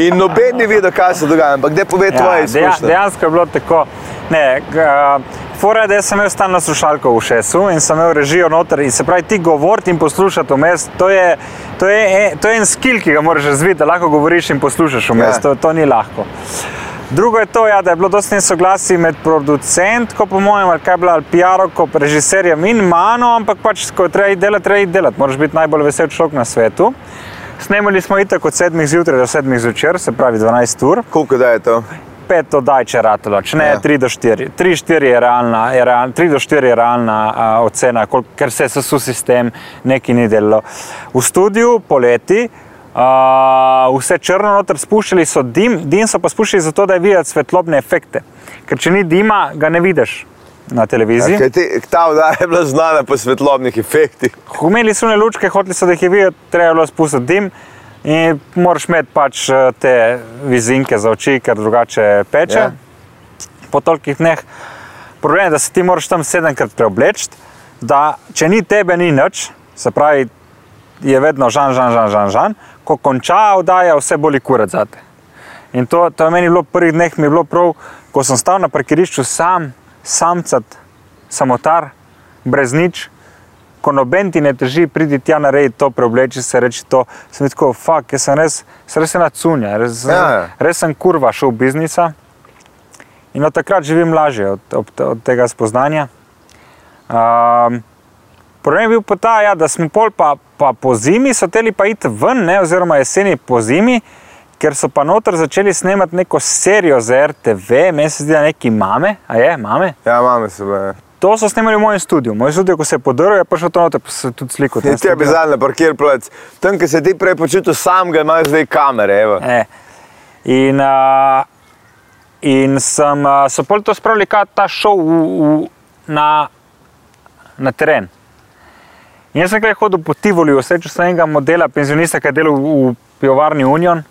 [SPEAKER 2] In noben ni vedel, kaj se dogaja, ampak da pove tvoje
[SPEAKER 3] Ja, deja,
[SPEAKER 2] izkušnje.
[SPEAKER 3] dejansko je bilo tako. Ne, g- a, Fora je, da jaz sem imel stalno slušalko v šesu in sem imel režijo noter. In se pravi, ti govoriti in poslušati vmes, to je, to, je, e- to je en skill, ki ga moraš razviti, da lahko govoriš in poslušaš vmes.
[SPEAKER 2] Ja.
[SPEAKER 3] Ja. To, to ni lahko. Drugo je to, ja, da je bilo dosti nesoglasij med producentko, po mojem, ali kaj je bilo, ali PR-ovko, režiserjem in mano, ampak pač, ko je treba iti delati, treba iti delati, moraš biti najbolj vesel človek na svetu. Snemali smo itak od 7 zjutraj do 7 zvečer, se pravi 12 ur
[SPEAKER 2] Koliko da je to?
[SPEAKER 3] pet oddaj, če ratalo, če ne,
[SPEAKER 2] Ja.
[SPEAKER 3] ja. 3 do 4. 3, 4 je realna, je realna, 3 do 4 je realna a, ocena, kol, ker se je sesul sistem, nekaj ni delalo. V studiu poleti. Uh, vse črno noter spuščali so dim, dim so pa spuščali zato, da je videti svetlobne efekte. Ker če ni dima, ga ne vidiš na
[SPEAKER 2] Ja,
[SPEAKER 3] televiziji.
[SPEAKER 2] Kaj ti- Ta vdaja je bila znana po svetlobnih efektih.
[SPEAKER 3] Humeli so ne lučke, hoteli so, da jih je videti, treba je bilo spustiti dim. In moraš imeti pač eh, te vizinke za oči, ker drugače peče.
[SPEAKER 2] Ja.
[SPEAKER 3] Yeah. Po tolikih dneh. Problem je, da se ti moraš tam sedemkrat preobleči, da če ni tebe, ni nič, se pravi, je vedno žan, žan, žan, žan, žan. ko konča oddaja, vse boli kurat zate. In to, to je meni bilo v prvih dneh, mi je bilo prav, ko sem stal na parkirišču sam, samcat, samotar, brez nič, ko noben ti ne teži, pridi tja na red, to preobleči se, reči to. Sem bil tako, fuk, jaz sem res, sem res ena cunja, res,
[SPEAKER 2] Ja.
[SPEAKER 3] ja. res sem kurva šel v biznisa. In od takrat živim lažje od, od, od tega spoznanja. Um, Problem je bil pa ta, ja, da smo pol pa, pa po zimi so teli pa iti ven, ne, oziroma jeseni po zimi, ker so pa noter začeli snemati neko serijo za RTV, meni se zdi, da neki mame, a je, mame.
[SPEAKER 2] Ja, mame se bile.
[SPEAKER 3] To so snemali v mojem studiu. Moj studio, ko se je podaril, je prišel to noter, pa se je tudi sliko.
[SPEAKER 2] In ti je bizarno, parkir plac. Tam, ki se ti prej počutil sam, ga imaš zdaj kamere. Evo.
[SPEAKER 3] E. In, uh, in sem, uh, so pol to spravili, kaj ta šov v, v, na, na teren. In jaz sem kaj hodil po Tivoliju, srečal sem enega modela, penzionista, ki je delal v pivovarni Union.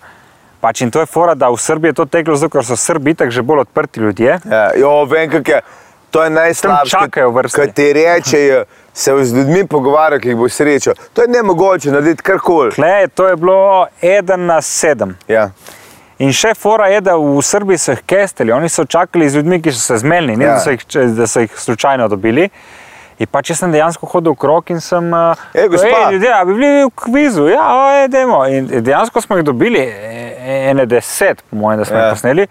[SPEAKER 3] Pač in to je fora, da v Srbiji je to teklo, zato ker so Srbi tako že bolj odprti ljudje.
[SPEAKER 2] Ja, jo, vem, kako je. To je najslabše.
[SPEAKER 3] Tam čakajo v vrsti.
[SPEAKER 2] Kaj ti rečejo, se z ljudmi pogovarjajo, ki jih bo srečal. To je nemogoče narediti karkoli.
[SPEAKER 3] Tle, to je bilo 1 na 7.
[SPEAKER 2] Ja.
[SPEAKER 3] In še fora je, da v Srbiji so jih kestili, oni so čakali z ljudmi, ki so se zmedli, ne
[SPEAKER 2] Ja.
[SPEAKER 3] ja. da, so jih, če- da so jih slučajno dobili. In pa če sem dejansko hodil v krog in sem
[SPEAKER 2] Ej,
[SPEAKER 3] rekel,
[SPEAKER 2] gospa."
[SPEAKER 3] ljudje, a bi bili v kvizu, ja, ojdemo. In dejansko smo jih dobili, e- ene deset, po mojem, da smo ja.
[SPEAKER 2] Ja.
[SPEAKER 3] jih posneli.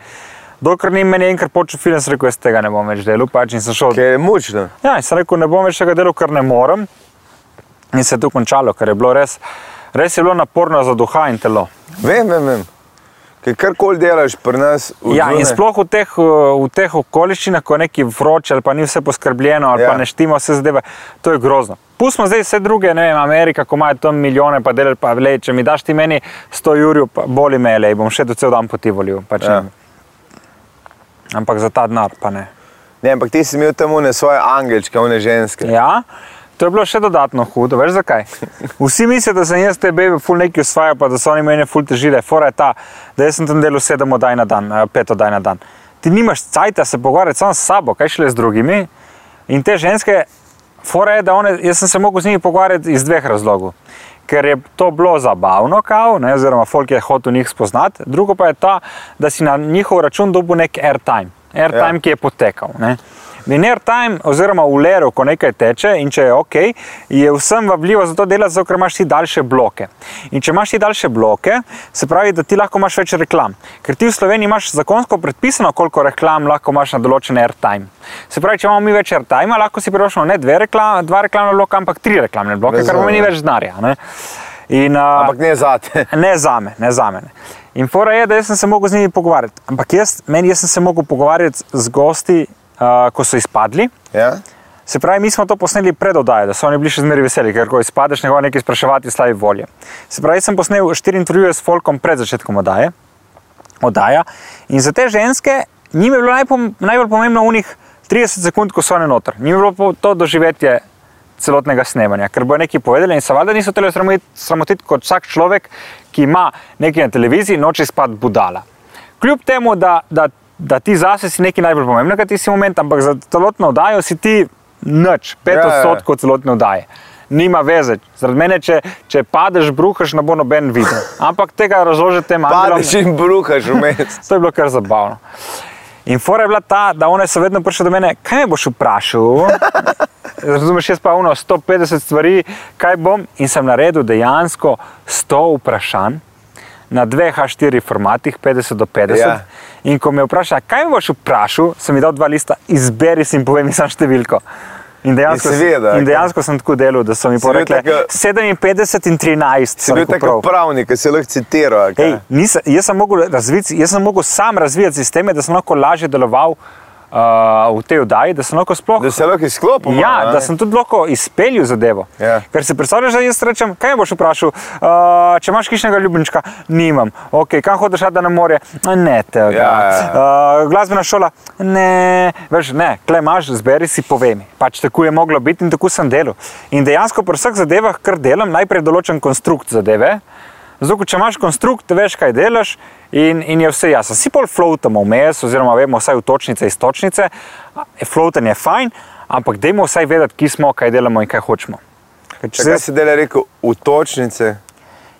[SPEAKER 3] Dokler ni meni enkrat počel film, sem rekel, jaz tega ne bom več delal, pač in sem šel.
[SPEAKER 2] Ker je mučno.
[SPEAKER 3] Ja, in sem rekel, ne bom več tega delal, ker ne morem. In se je tu končalo, ker je bilo res, res je bilo naporno za duha in telo.
[SPEAKER 2] Vem, vem, vem. Ker karkoli delaš pri nas, od
[SPEAKER 3] Ja, in
[SPEAKER 2] zunaj-
[SPEAKER 3] sploh v teh, uh, v teh okoliščinah, ko je neki vroče ali pa ni vse poskrbljeno ali
[SPEAKER 2] Ja.
[SPEAKER 3] ja. pa ne štima vse zadeve, to je grozno. Pustimo zdaj vse druge, ne vem, Amerika, ko imajo tam milijone, pa delajo, pa le, če mi daš ti meni 100 jurjev, pa boli me, le, bom še do cel dan potivolil. Pač
[SPEAKER 2] Ja.
[SPEAKER 3] ja. Ampak za ta denar pa ne.
[SPEAKER 2] Ne, ampak ti si imel tam une svoje angelčke, une ženske.
[SPEAKER 3] Ja, to je bilo še dodatno hudo, veš zakaj? Vsi mislijo, da sem jaz te bebe ful neki usvajal, pa da so oni meni ful težile. Fora je ta, da jaz sem tam delal sedem oddaj na dan, eh, pet oddaj na dan. Ti nimaš cajta se pogovarjati sam s sabo, kaj šele z drugimi. In te ženske, fora je, da one, jaz sem se mogel z njimi pogovarjati iz dveh razlogov. Ker je to bilo zabavno, kao, ne, oziroma folk je hotel njih spoznati, drugo pa je ta, da si na njihov račun dobil nek airtime, airtime
[SPEAKER 2] Ja.
[SPEAKER 3] ja. ki je potekal. Ne. In airtime, oziroma v leru, ko nekaj teče in če je ok, je vsem vabljivo za to delati, zato ker imaš ti daljše bloke. In če imaš ti daljše bloke, se pravi, da ti lahko imaš več reklam. Ker ti v Sloveniji imaš zakonsko predpisano, koliko reklam lahko imaš na določen airtime. Se pravi, če imamo mi več airtime, lahko si priročimo ne dve reklame, dva reklamna bloka, ampak tri reklamne bloke, kar
[SPEAKER 2] Razumem.
[SPEAKER 3] pomeni več denarja. ne. In, a,
[SPEAKER 2] Ampak ne zate.
[SPEAKER 3] Ne za me, ne za mene. In fora je, da jaz sem se mogel z njimi pogovarjati. Ampak jaz, meni, jaz sem se mogel pogovarjati z gosti, uh, ko so izpadli.
[SPEAKER 2] Ja?
[SPEAKER 3] Se pravi, mi smo to posneli pred oddajo, da so oni bili še zmeraj veseli, ker ko izpadeš, ne bo nekaj spraševati slabe volje. Se pravi, jaz sem posnel štiri intervjuje s Folkom pred začetkom oddaje. oddaja. In za te ženske, njim je bilo najpom, najbolj pomembno unih 30 sekund, ko so one noter. Njim je bilo po- to doživetje celotnega snemanja, ker bojo nekaj povedali in se valjda niso tele sramotiti, sramotiti kot vsak človek, ki ima nekaj na televiziji in noče izpad budala. Kljub temu, da, da, da ti zase si nekaj najbolj pomembnega, ti si moment, ampak za celotno oddajo si ti nič,
[SPEAKER 2] Ja,
[SPEAKER 3] 5
[SPEAKER 2] ja, ja.
[SPEAKER 3] odstotkov kot celotne vdaje. Nima veze, zaradi mene, če, če padeš, bruhaš, ne bo noben videl. Ampak tega razložite malo.
[SPEAKER 2] Padeš in bruhaš vmes.
[SPEAKER 3] To je bilo kar zabavno. In fora je bila ta, da one so vedno prišle do mene, kaj me boš vprašal. Razumeš, jaz pa uno 150 stvari, kaj bom. In sem naredil dejansko 100 vprašanj na dveh A4 formatih, 50 do 50.
[SPEAKER 2] Ja.
[SPEAKER 3] Ja. In ko me vpraša, kaj me boš vprašal, sem mi dal dva lista, izberi si in povej mi samo številko. In dejansko,
[SPEAKER 2] In seveda,
[SPEAKER 3] in dejansko sem tako delal, da so mi
[SPEAKER 2] bil
[SPEAKER 3] povedali
[SPEAKER 2] tako-
[SPEAKER 3] 57 in 13.
[SPEAKER 2] Si
[SPEAKER 3] sem
[SPEAKER 2] bil
[SPEAKER 3] rekel,
[SPEAKER 2] tako
[SPEAKER 3] prav.
[SPEAKER 2] pravnik, ki si lahko citiral. a kaj?
[SPEAKER 3] Ej, nisem, jaz, sem mogel razviti, jaz sem mogel sam razvijati sisteme, da sem lahko lažje deloval uh, v tej oddaji, da sem lahko sploh.
[SPEAKER 2] Da se lahko izklopimo.
[SPEAKER 3] Ja,
[SPEAKER 2] a?
[SPEAKER 3] da sem tudi lahko izpeljal zadevo.
[SPEAKER 2] Ja.
[SPEAKER 3] Ker si predstavljaš, da jaz rečem, kaj me boš vprašal, uh, če imaš hišnega ljubimčka, nimam, okay, kam hodiš, rad, da na morje, "A ne tega.
[SPEAKER 2] Ja, ja,
[SPEAKER 3] Uh, glasbena šola, ne, veš, ne, kle imaš, zberi si, povej mi. Pač tako je moglo biti in tako sem delal. In dejansko pri vseh zadevah, kar delam, najprej določen konstrukt zadeve. Zato, ker če imaš konstrukt, veš, kaj delaš, in, in je vse jasno. Si pol floatamo vmes, oziroma vemo vsaj v točnice iz točnice, floatanje je fajn, ampak dajmo vsaj vedeti, ki smo, kaj delamo in kaj hočemo. Ker če
[SPEAKER 2] Zakaj
[SPEAKER 3] zdaj-
[SPEAKER 2] si dele rekel v točnice?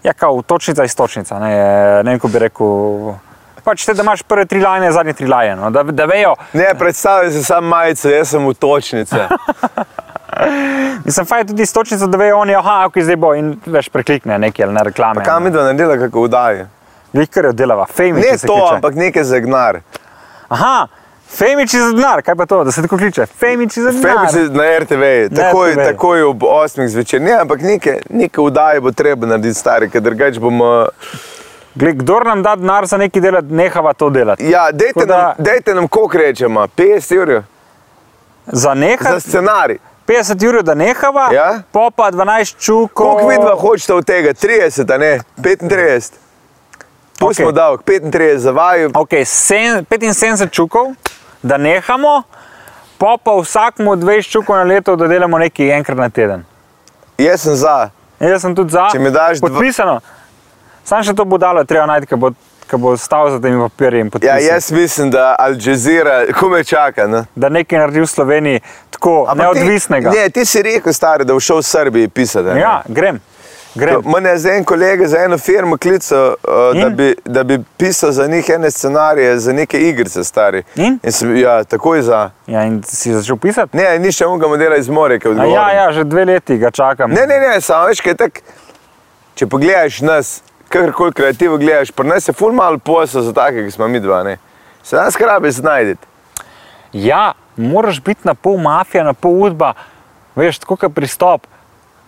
[SPEAKER 3] Ja, kao točnica iz točnica, ne, ne vem, ko bi rekel. Pač te, da imaš prve tri lajne, zadnje tri lajne, no, da, da vejo.
[SPEAKER 2] Ne, predstavljaj si sam majico, jaz sem v točnice.
[SPEAKER 3] Mislim, fajn je tudi iz točnice, da vejo oni, aha, ok, zdaj bo in veš preklikne nekaj ali na reklame.
[SPEAKER 2] Kam mi da naredila kako vdaje?
[SPEAKER 3] Vikar je delava, fame.
[SPEAKER 2] Ne to, ampak nekaj zagnar.
[SPEAKER 3] Aha, fame iz denar, kaj pa to, da se tako kliče? Fame iz denar.
[SPEAKER 2] Femice na RTV, takoj,
[SPEAKER 3] RTV.
[SPEAKER 2] takoj ob 8 zvečer. Ne, ampak nekaj, nekaj vdaje bo treba narediti stari, ker drugače bomo...
[SPEAKER 3] Glej, kdor nam da denar za neki delati, nehava to delati.
[SPEAKER 2] Ja, dejte
[SPEAKER 3] Tako da-
[SPEAKER 2] nam, dejte nam koliko rečemo, 50 ur
[SPEAKER 3] Za
[SPEAKER 2] za
[SPEAKER 3] nekaj,
[SPEAKER 2] scenarij.
[SPEAKER 3] 50 ur, da nehava,
[SPEAKER 2] Ja.
[SPEAKER 3] po pa 12 čukov.
[SPEAKER 2] Koliko vidva hočete od tega? 30, a ne? 35. Pustimo
[SPEAKER 3] Okej.
[SPEAKER 2] okay. davek, 35 za vaju.
[SPEAKER 3] Ok, sen, 75 čukov, da nehamo, po pa vsakmu 20 čukov na leto, da delamo nekaj enkrat na teden.
[SPEAKER 2] Jaz sem za.
[SPEAKER 3] Jaz sem tudi za.
[SPEAKER 2] Če mi daš dva-
[SPEAKER 3] podpisano. Sam še to budalo, je treba najti, ki bo, ki bo stal za temi papirji in
[SPEAKER 2] Ja,
[SPEAKER 3] podpisal.
[SPEAKER 2] jaz mislim, da Al Jazeera, ko me čaka. no. Ne?
[SPEAKER 3] Da nekaj naredi v Sloveniji tako
[SPEAKER 2] Ampak ti-
[SPEAKER 3] neodvisnega.
[SPEAKER 2] Ne, ti si rekel, stari, da bo šel v Srbiji pisati. a ne?
[SPEAKER 3] ja, grem. grem.
[SPEAKER 2] Mene je za en kolega, za eno firmo klical, uh, da,
[SPEAKER 3] In?
[SPEAKER 2] bi, da bi pisal za njih ene scenarije, za neke igrice, stari.
[SPEAKER 3] In?
[SPEAKER 2] In sem, ja, takoj za.
[SPEAKER 3] Ja, in si začel pisati?
[SPEAKER 2] Ne, ni še unega modela iz More, ki
[SPEAKER 3] A
[SPEAKER 2] odgovarja.
[SPEAKER 3] Ja, ja, že dve leti ga čakam.
[SPEAKER 2] Ne, ne, ne, samo veš, kaj je tako. Če pogledaš nas, kakorkoli kreativno gledaš, pri nas je ful malo posla za take, ki smo mi dva. Ne? Se nas krabi znajdete.
[SPEAKER 3] Ja, moraš biti na pol mafija, na pol udba, veš, tako kot pristop.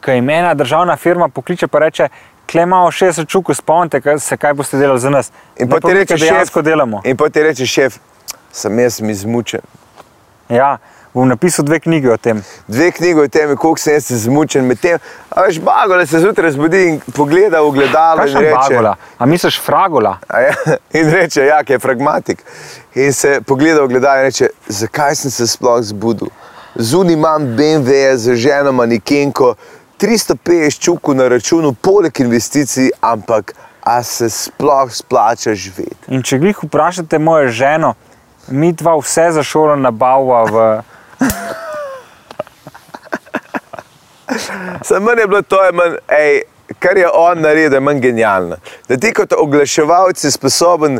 [SPEAKER 3] ki jim ena državna firma pokliče in reče, klej imamo 60 čukov, spomnite kaj- se, kaj boste delali za nas.
[SPEAKER 2] In
[SPEAKER 3] Ne pa
[SPEAKER 2] potem
[SPEAKER 3] mi,
[SPEAKER 2] reče
[SPEAKER 3] kaj dejansko delamo.
[SPEAKER 2] In potem reče šef, sem jaz izmučen.
[SPEAKER 3] Ja, bom napisal dve knjige o tem.
[SPEAKER 2] dve knjigi o tem, koliko sem jaz izmučen med tem. A veš, bagola se zjutraj zbudi in pogleda v gledalo in
[SPEAKER 3] Kaj je
[SPEAKER 2] reče,
[SPEAKER 3] bagola? A misliš fragola?
[SPEAKER 2] A ja, in reče, ja, ki je pragmatik. In se pogleda v gledalo in reče, zakaj sem se sploh zbudil. Zunaj imam BMW z ženo manikenko, 350 čukov na računu, poleg investicij, ampak a se sploh splača živeti.
[SPEAKER 3] In če jih vprašate mojo ženo, mi dva vse za šolo nabavava v.
[SPEAKER 2] Samo meni je bilo to, je manj, ej, kar je on naredil, je manj genialno. Da ti kot oglaševalec si sposoben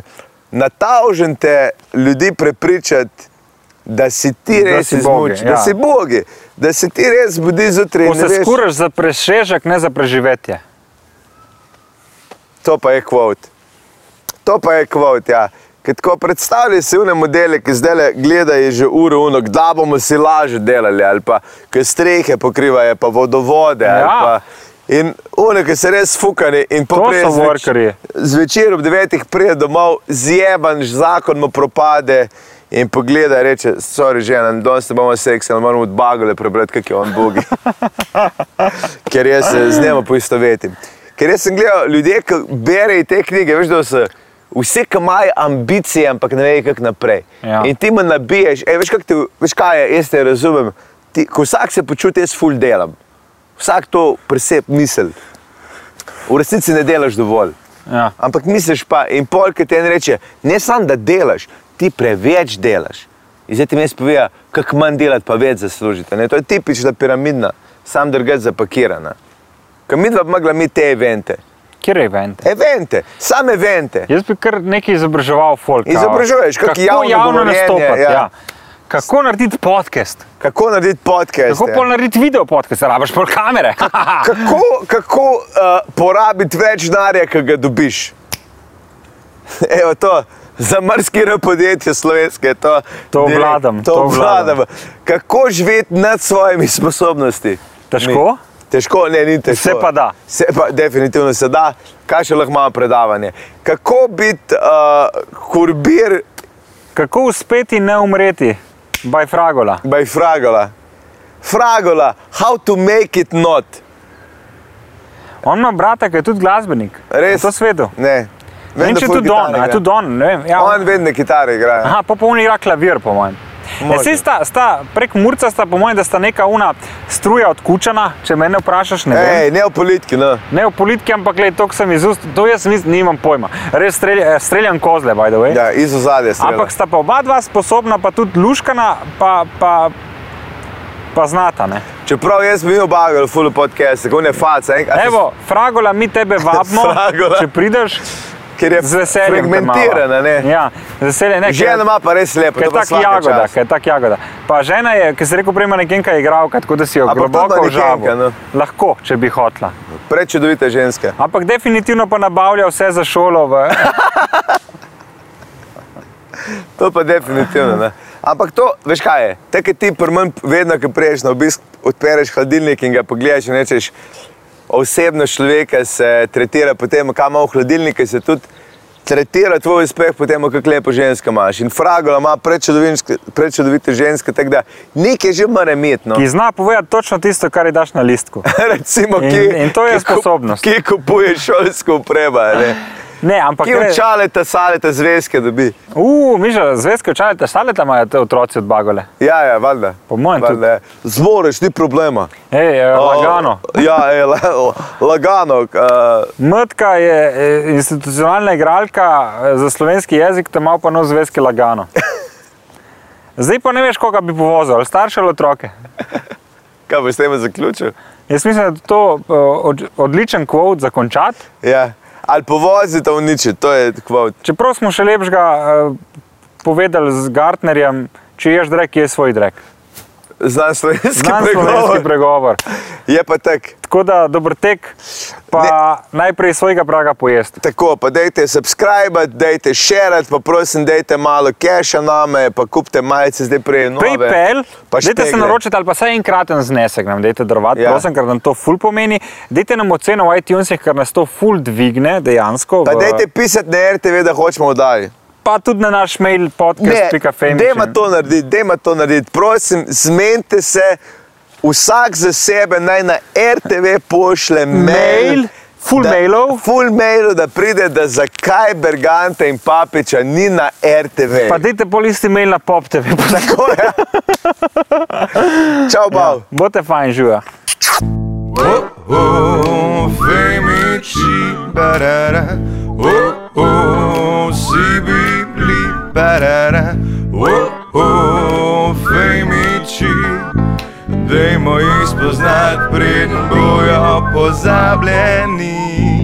[SPEAKER 2] na taužen te ljudi prepričati, da si ti
[SPEAKER 3] Da
[SPEAKER 2] res
[SPEAKER 3] si bogi,
[SPEAKER 2] izmučen, da
[SPEAKER 3] ja.
[SPEAKER 2] si bogi, da se ti res zbudi zjutraj
[SPEAKER 3] Ko
[SPEAKER 2] in ne
[SPEAKER 3] se
[SPEAKER 2] veš.
[SPEAKER 3] skuraš za presežek, ne za preživetje.
[SPEAKER 2] To pa je kvot. To pa je kvot, ja. Ker tako predstavljaj si une modele, ki zdaj gledajo že uro, uno, kdaj bomo si lažje delali, ali pa ki strehe pokrivajo, pa vodovode. ali
[SPEAKER 3] Ja.
[SPEAKER 2] Pa, in une, ki se res fukane in
[SPEAKER 3] so
[SPEAKER 2] poprej. zveč-
[SPEAKER 3] workerji.
[SPEAKER 2] Zvečer ob devetih pride domov, zjeban, zakon mu propade. In pogleda in reče, sorry, žena, danes ne bomo seksa, ne moramo od bagole prebrati, kak je on bogi ker jaz se z njima poistovetim. Ker jaz sem gledal ljudi, ki berejo te knjige, veš, da so vsi, ki imajo ambicije, ampak ne vejo, kako naprej.
[SPEAKER 3] Ja.
[SPEAKER 2] In ti me nabiješ, Ej, veš, kak te, veš kaj je, jaz te razumem. Ti, ko vsak se počuti, jaz full delam. Vsak to presep misel. V resnici ne delaš dovolj.
[SPEAKER 3] Ja.
[SPEAKER 2] Ampak misliš pa, in pol, ki ti en reče, ne samo da delaš, ti preveč delaš. In zdaj ti mi spovejo, kako manj delati, pa več zaslužiti. a Ne? To je tipična piramidna, sam drugače zapakirana. Kaj mi dva bi mogla imeti te evente?
[SPEAKER 3] Kje je event?
[SPEAKER 2] Evente, same evente.
[SPEAKER 3] Jaz bi kar nekaj izobraževal folk. kao,
[SPEAKER 2] Izobražuješ, kako javno govorjenje,
[SPEAKER 3] nastopati.
[SPEAKER 2] ja.
[SPEAKER 3] Ja. Kako narediti podcast?
[SPEAKER 2] Kako narediti podcast?
[SPEAKER 3] Kako pol narediti video podcast? Rabaš pol kamere.
[SPEAKER 2] kako, kako uh, porabiti več denarja, ki ga dobiš? Evo to. Za marsikero podjetje slovenske je to.
[SPEAKER 3] To obvladam,
[SPEAKER 2] To
[SPEAKER 3] to
[SPEAKER 2] obvladam.
[SPEAKER 3] obvladam.
[SPEAKER 2] Kako živeti nad svojimi sposobnostmi?
[SPEAKER 3] Težko?
[SPEAKER 2] Ni. Težko, ne, ni težko.
[SPEAKER 3] Se pa da.
[SPEAKER 2] Se pa definitivno se da, kaj še lahko imamo predavanje. Kako biti uh, kurbir
[SPEAKER 3] Kako uspeti in ne umreti? Baj fragola.
[SPEAKER 2] by Fragola? Fragola, how to make it not.
[SPEAKER 3] On ima brata, ki je tudi glasbenik.
[SPEAKER 2] Res?
[SPEAKER 3] V to svetu.
[SPEAKER 2] Ne.
[SPEAKER 3] Ne vem,
[SPEAKER 2] da
[SPEAKER 3] če je
[SPEAKER 2] ful
[SPEAKER 3] tudi
[SPEAKER 2] kitare
[SPEAKER 3] on, a je
[SPEAKER 2] igra.
[SPEAKER 3] tudi on, ne vem. Ja,
[SPEAKER 2] On vedno kitare igra. ja.
[SPEAKER 3] Aha, pa poln igra klavir, po mojem. Ja,
[SPEAKER 2] Možno.
[SPEAKER 3] saj sta, sta, prek Murca sta, po mojem, da sta neka una struja odkučena, če me ne vprašaš, ne vem.
[SPEAKER 2] Ej, ne o politiki, no.
[SPEAKER 3] Ne v politiki, ampak le to, kar sem izust, to jaz nis, nimam pojma. Res streljam, streljam kozle, by the way.
[SPEAKER 2] Ja, iz ozadja se.
[SPEAKER 3] ampak sta pa oba dva sposobna, pa tudi luškana, pa, pa, pa znata. Ne?
[SPEAKER 2] Čeprav jaz bi obagal full podcast, tako ne faca, enk,
[SPEAKER 3] Evo, fragola, mi tebe vabimo,
[SPEAKER 2] Fragola.
[SPEAKER 3] če prideš.
[SPEAKER 2] ker je
[SPEAKER 3] Z veseljem. te
[SPEAKER 2] fragmentirana.
[SPEAKER 3] mava.
[SPEAKER 2] Ne?
[SPEAKER 3] Ja, z veseljem. ne, ker-
[SPEAKER 2] Žena ima pa res lepo,
[SPEAKER 3] Ker je
[SPEAKER 2] to pa
[SPEAKER 3] tako
[SPEAKER 2] svaka
[SPEAKER 3] jagoda,
[SPEAKER 2] čast.
[SPEAKER 3] ker je tako jagoda. Pa žena je, ki si rekel, prejma nekenka igralka, tako da si jo
[SPEAKER 2] Ampak to
[SPEAKER 3] globoko
[SPEAKER 2] pa nekenka,
[SPEAKER 3] užalil.
[SPEAKER 2] no.
[SPEAKER 3] Lahko, če bi hotla.
[SPEAKER 2] Prečudovite ženske.
[SPEAKER 3] Ampak definitivno pa nabavlja vse za šolo. V...
[SPEAKER 2] To pa definitivno. Ne? Ampak to, veš kaj je, te, ki ti prmen, vedno, ko prejš na obisk, odpereš hladilnik in ga pogledaš in rečeš, osebno človeka se tretira po tem, kam ima v hladilniku, se tudi tretira tvoj uspeh po tem, kako lepo ženska imaš. In fragola ima prečudovinske- prečudovite ženske, tako da nekaj že mora imeti. No.
[SPEAKER 3] Ki zna povedati točno tisto, kar ji daš na listku.
[SPEAKER 2] Recimo,
[SPEAKER 3] In-
[SPEAKER 2] ki,
[SPEAKER 3] in to je
[SPEAKER 2] ki kup-
[SPEAKER 3] sposobnost.
[SPEAKER 2] Ki kupuje šolsko opremo, a ne?
[SPEAKER 3] Ne, ampak
[SPEAKER 2] ki
[SPEAKER 3] gre-
[SPEAKER 2] učale ta salete zvezke dobi.
[SPEAKER 3] Uh, miša, zvezke očalite, saleta imajo te otroci od bagole.
[SPEAKER 2] Ja, ja, valjda.
[SPEAKER 3] Po mojem
[SPEAKER 2] Valjda, ja. Zmoreš, ni problema.
[SPEAKER 3] Ej, eh,
[SPEAKER 2] O,
[SPEAKER 3] lagano.
[SPEAKER 2] Ja, je, la, lagano. Uh,
[SPEAKER 3] Mrtka je eh, institucionalna igralka eh, za slovenski jezik, te ima pa nov zvezki lagano. Zdaj pa ne veš, koga bi povozil, ali starše ali otroke.
[SPEAKER 2] kaj boš s tem zaključil?
[SPEAKER 3] Jaz mislim, da je to eh, od, odličen kvot za končati.
[SPEAKER 2] Ja. Ali povozite uničiti, to je kvot.
[SPEAKER 3] Čeprav smo še e, lepšega eh, povedali z Gartnerjem, če ješ drek, je svoj drek.
[SPEAKER 2] Znan slovenski
[SPEAKER 3] Znan slovenski
[SPEAKER 2] pregovor.
[SPEAKER 3] pregovor.
[SPEAKER 2] Je pa tak.
[SPEAKER 3] Tako da dober tek, pa ne. najprej svojega praga pojesti.
[SPEAKER 2] Tako, pa dajte subscribe, dajte share, pa prosim, dajte malo keša name, pa kupite majice zdaj prej. nove,
[SPEAKER 3] PayPal,
[SPEAKER 2] pa
[SPEAKER 3] dajte se
[SPEAKER 2] špegle.
[SPEAKER 3] naročiti ali pa vsaj enkraten znesek nam dajte darovati,
[SPEAKER 2] Ja.
[SPEAKER 3] ja. prosim, ker nam to ful pomeni. Dajte nam oceno v iTunesih, ker nas to ful dvigne dejansko.
[SPEAKER 2] Pa
[SPEAKER 3] v-
[SPEAKER 2] dajte pisati na RTV, da hočemo oddaj.
[SPEAKER 3] pa tudi na naš mail podcast.fm.
[SPEAKER 2] dajma to narediti, dajma to narediti. Prosim, zmenite se, vsak za sebe naj na RTV pošlje mail.
[SPEAKER 3] Mail, full
[SPEAKER 2] da-
[SPEAKER 3] mailov.
[SPEAKER 2] Full mailov, da pride, da zakaj Berganta in Papiča ni na RTV.
[SPEAKER 3] Pa dajte pol isti mail na pop TV.
[SPEAKER 2] Tako je. Čau, bav. Ja.
[SPEAKER 3] Bote fajn živa.
[SPEAKER 1] Oh, oh, fame barara. Oh, oh, CBB barara. Oh, oh, fame Dajmo jih spoznati, preden bojo pozabljeni.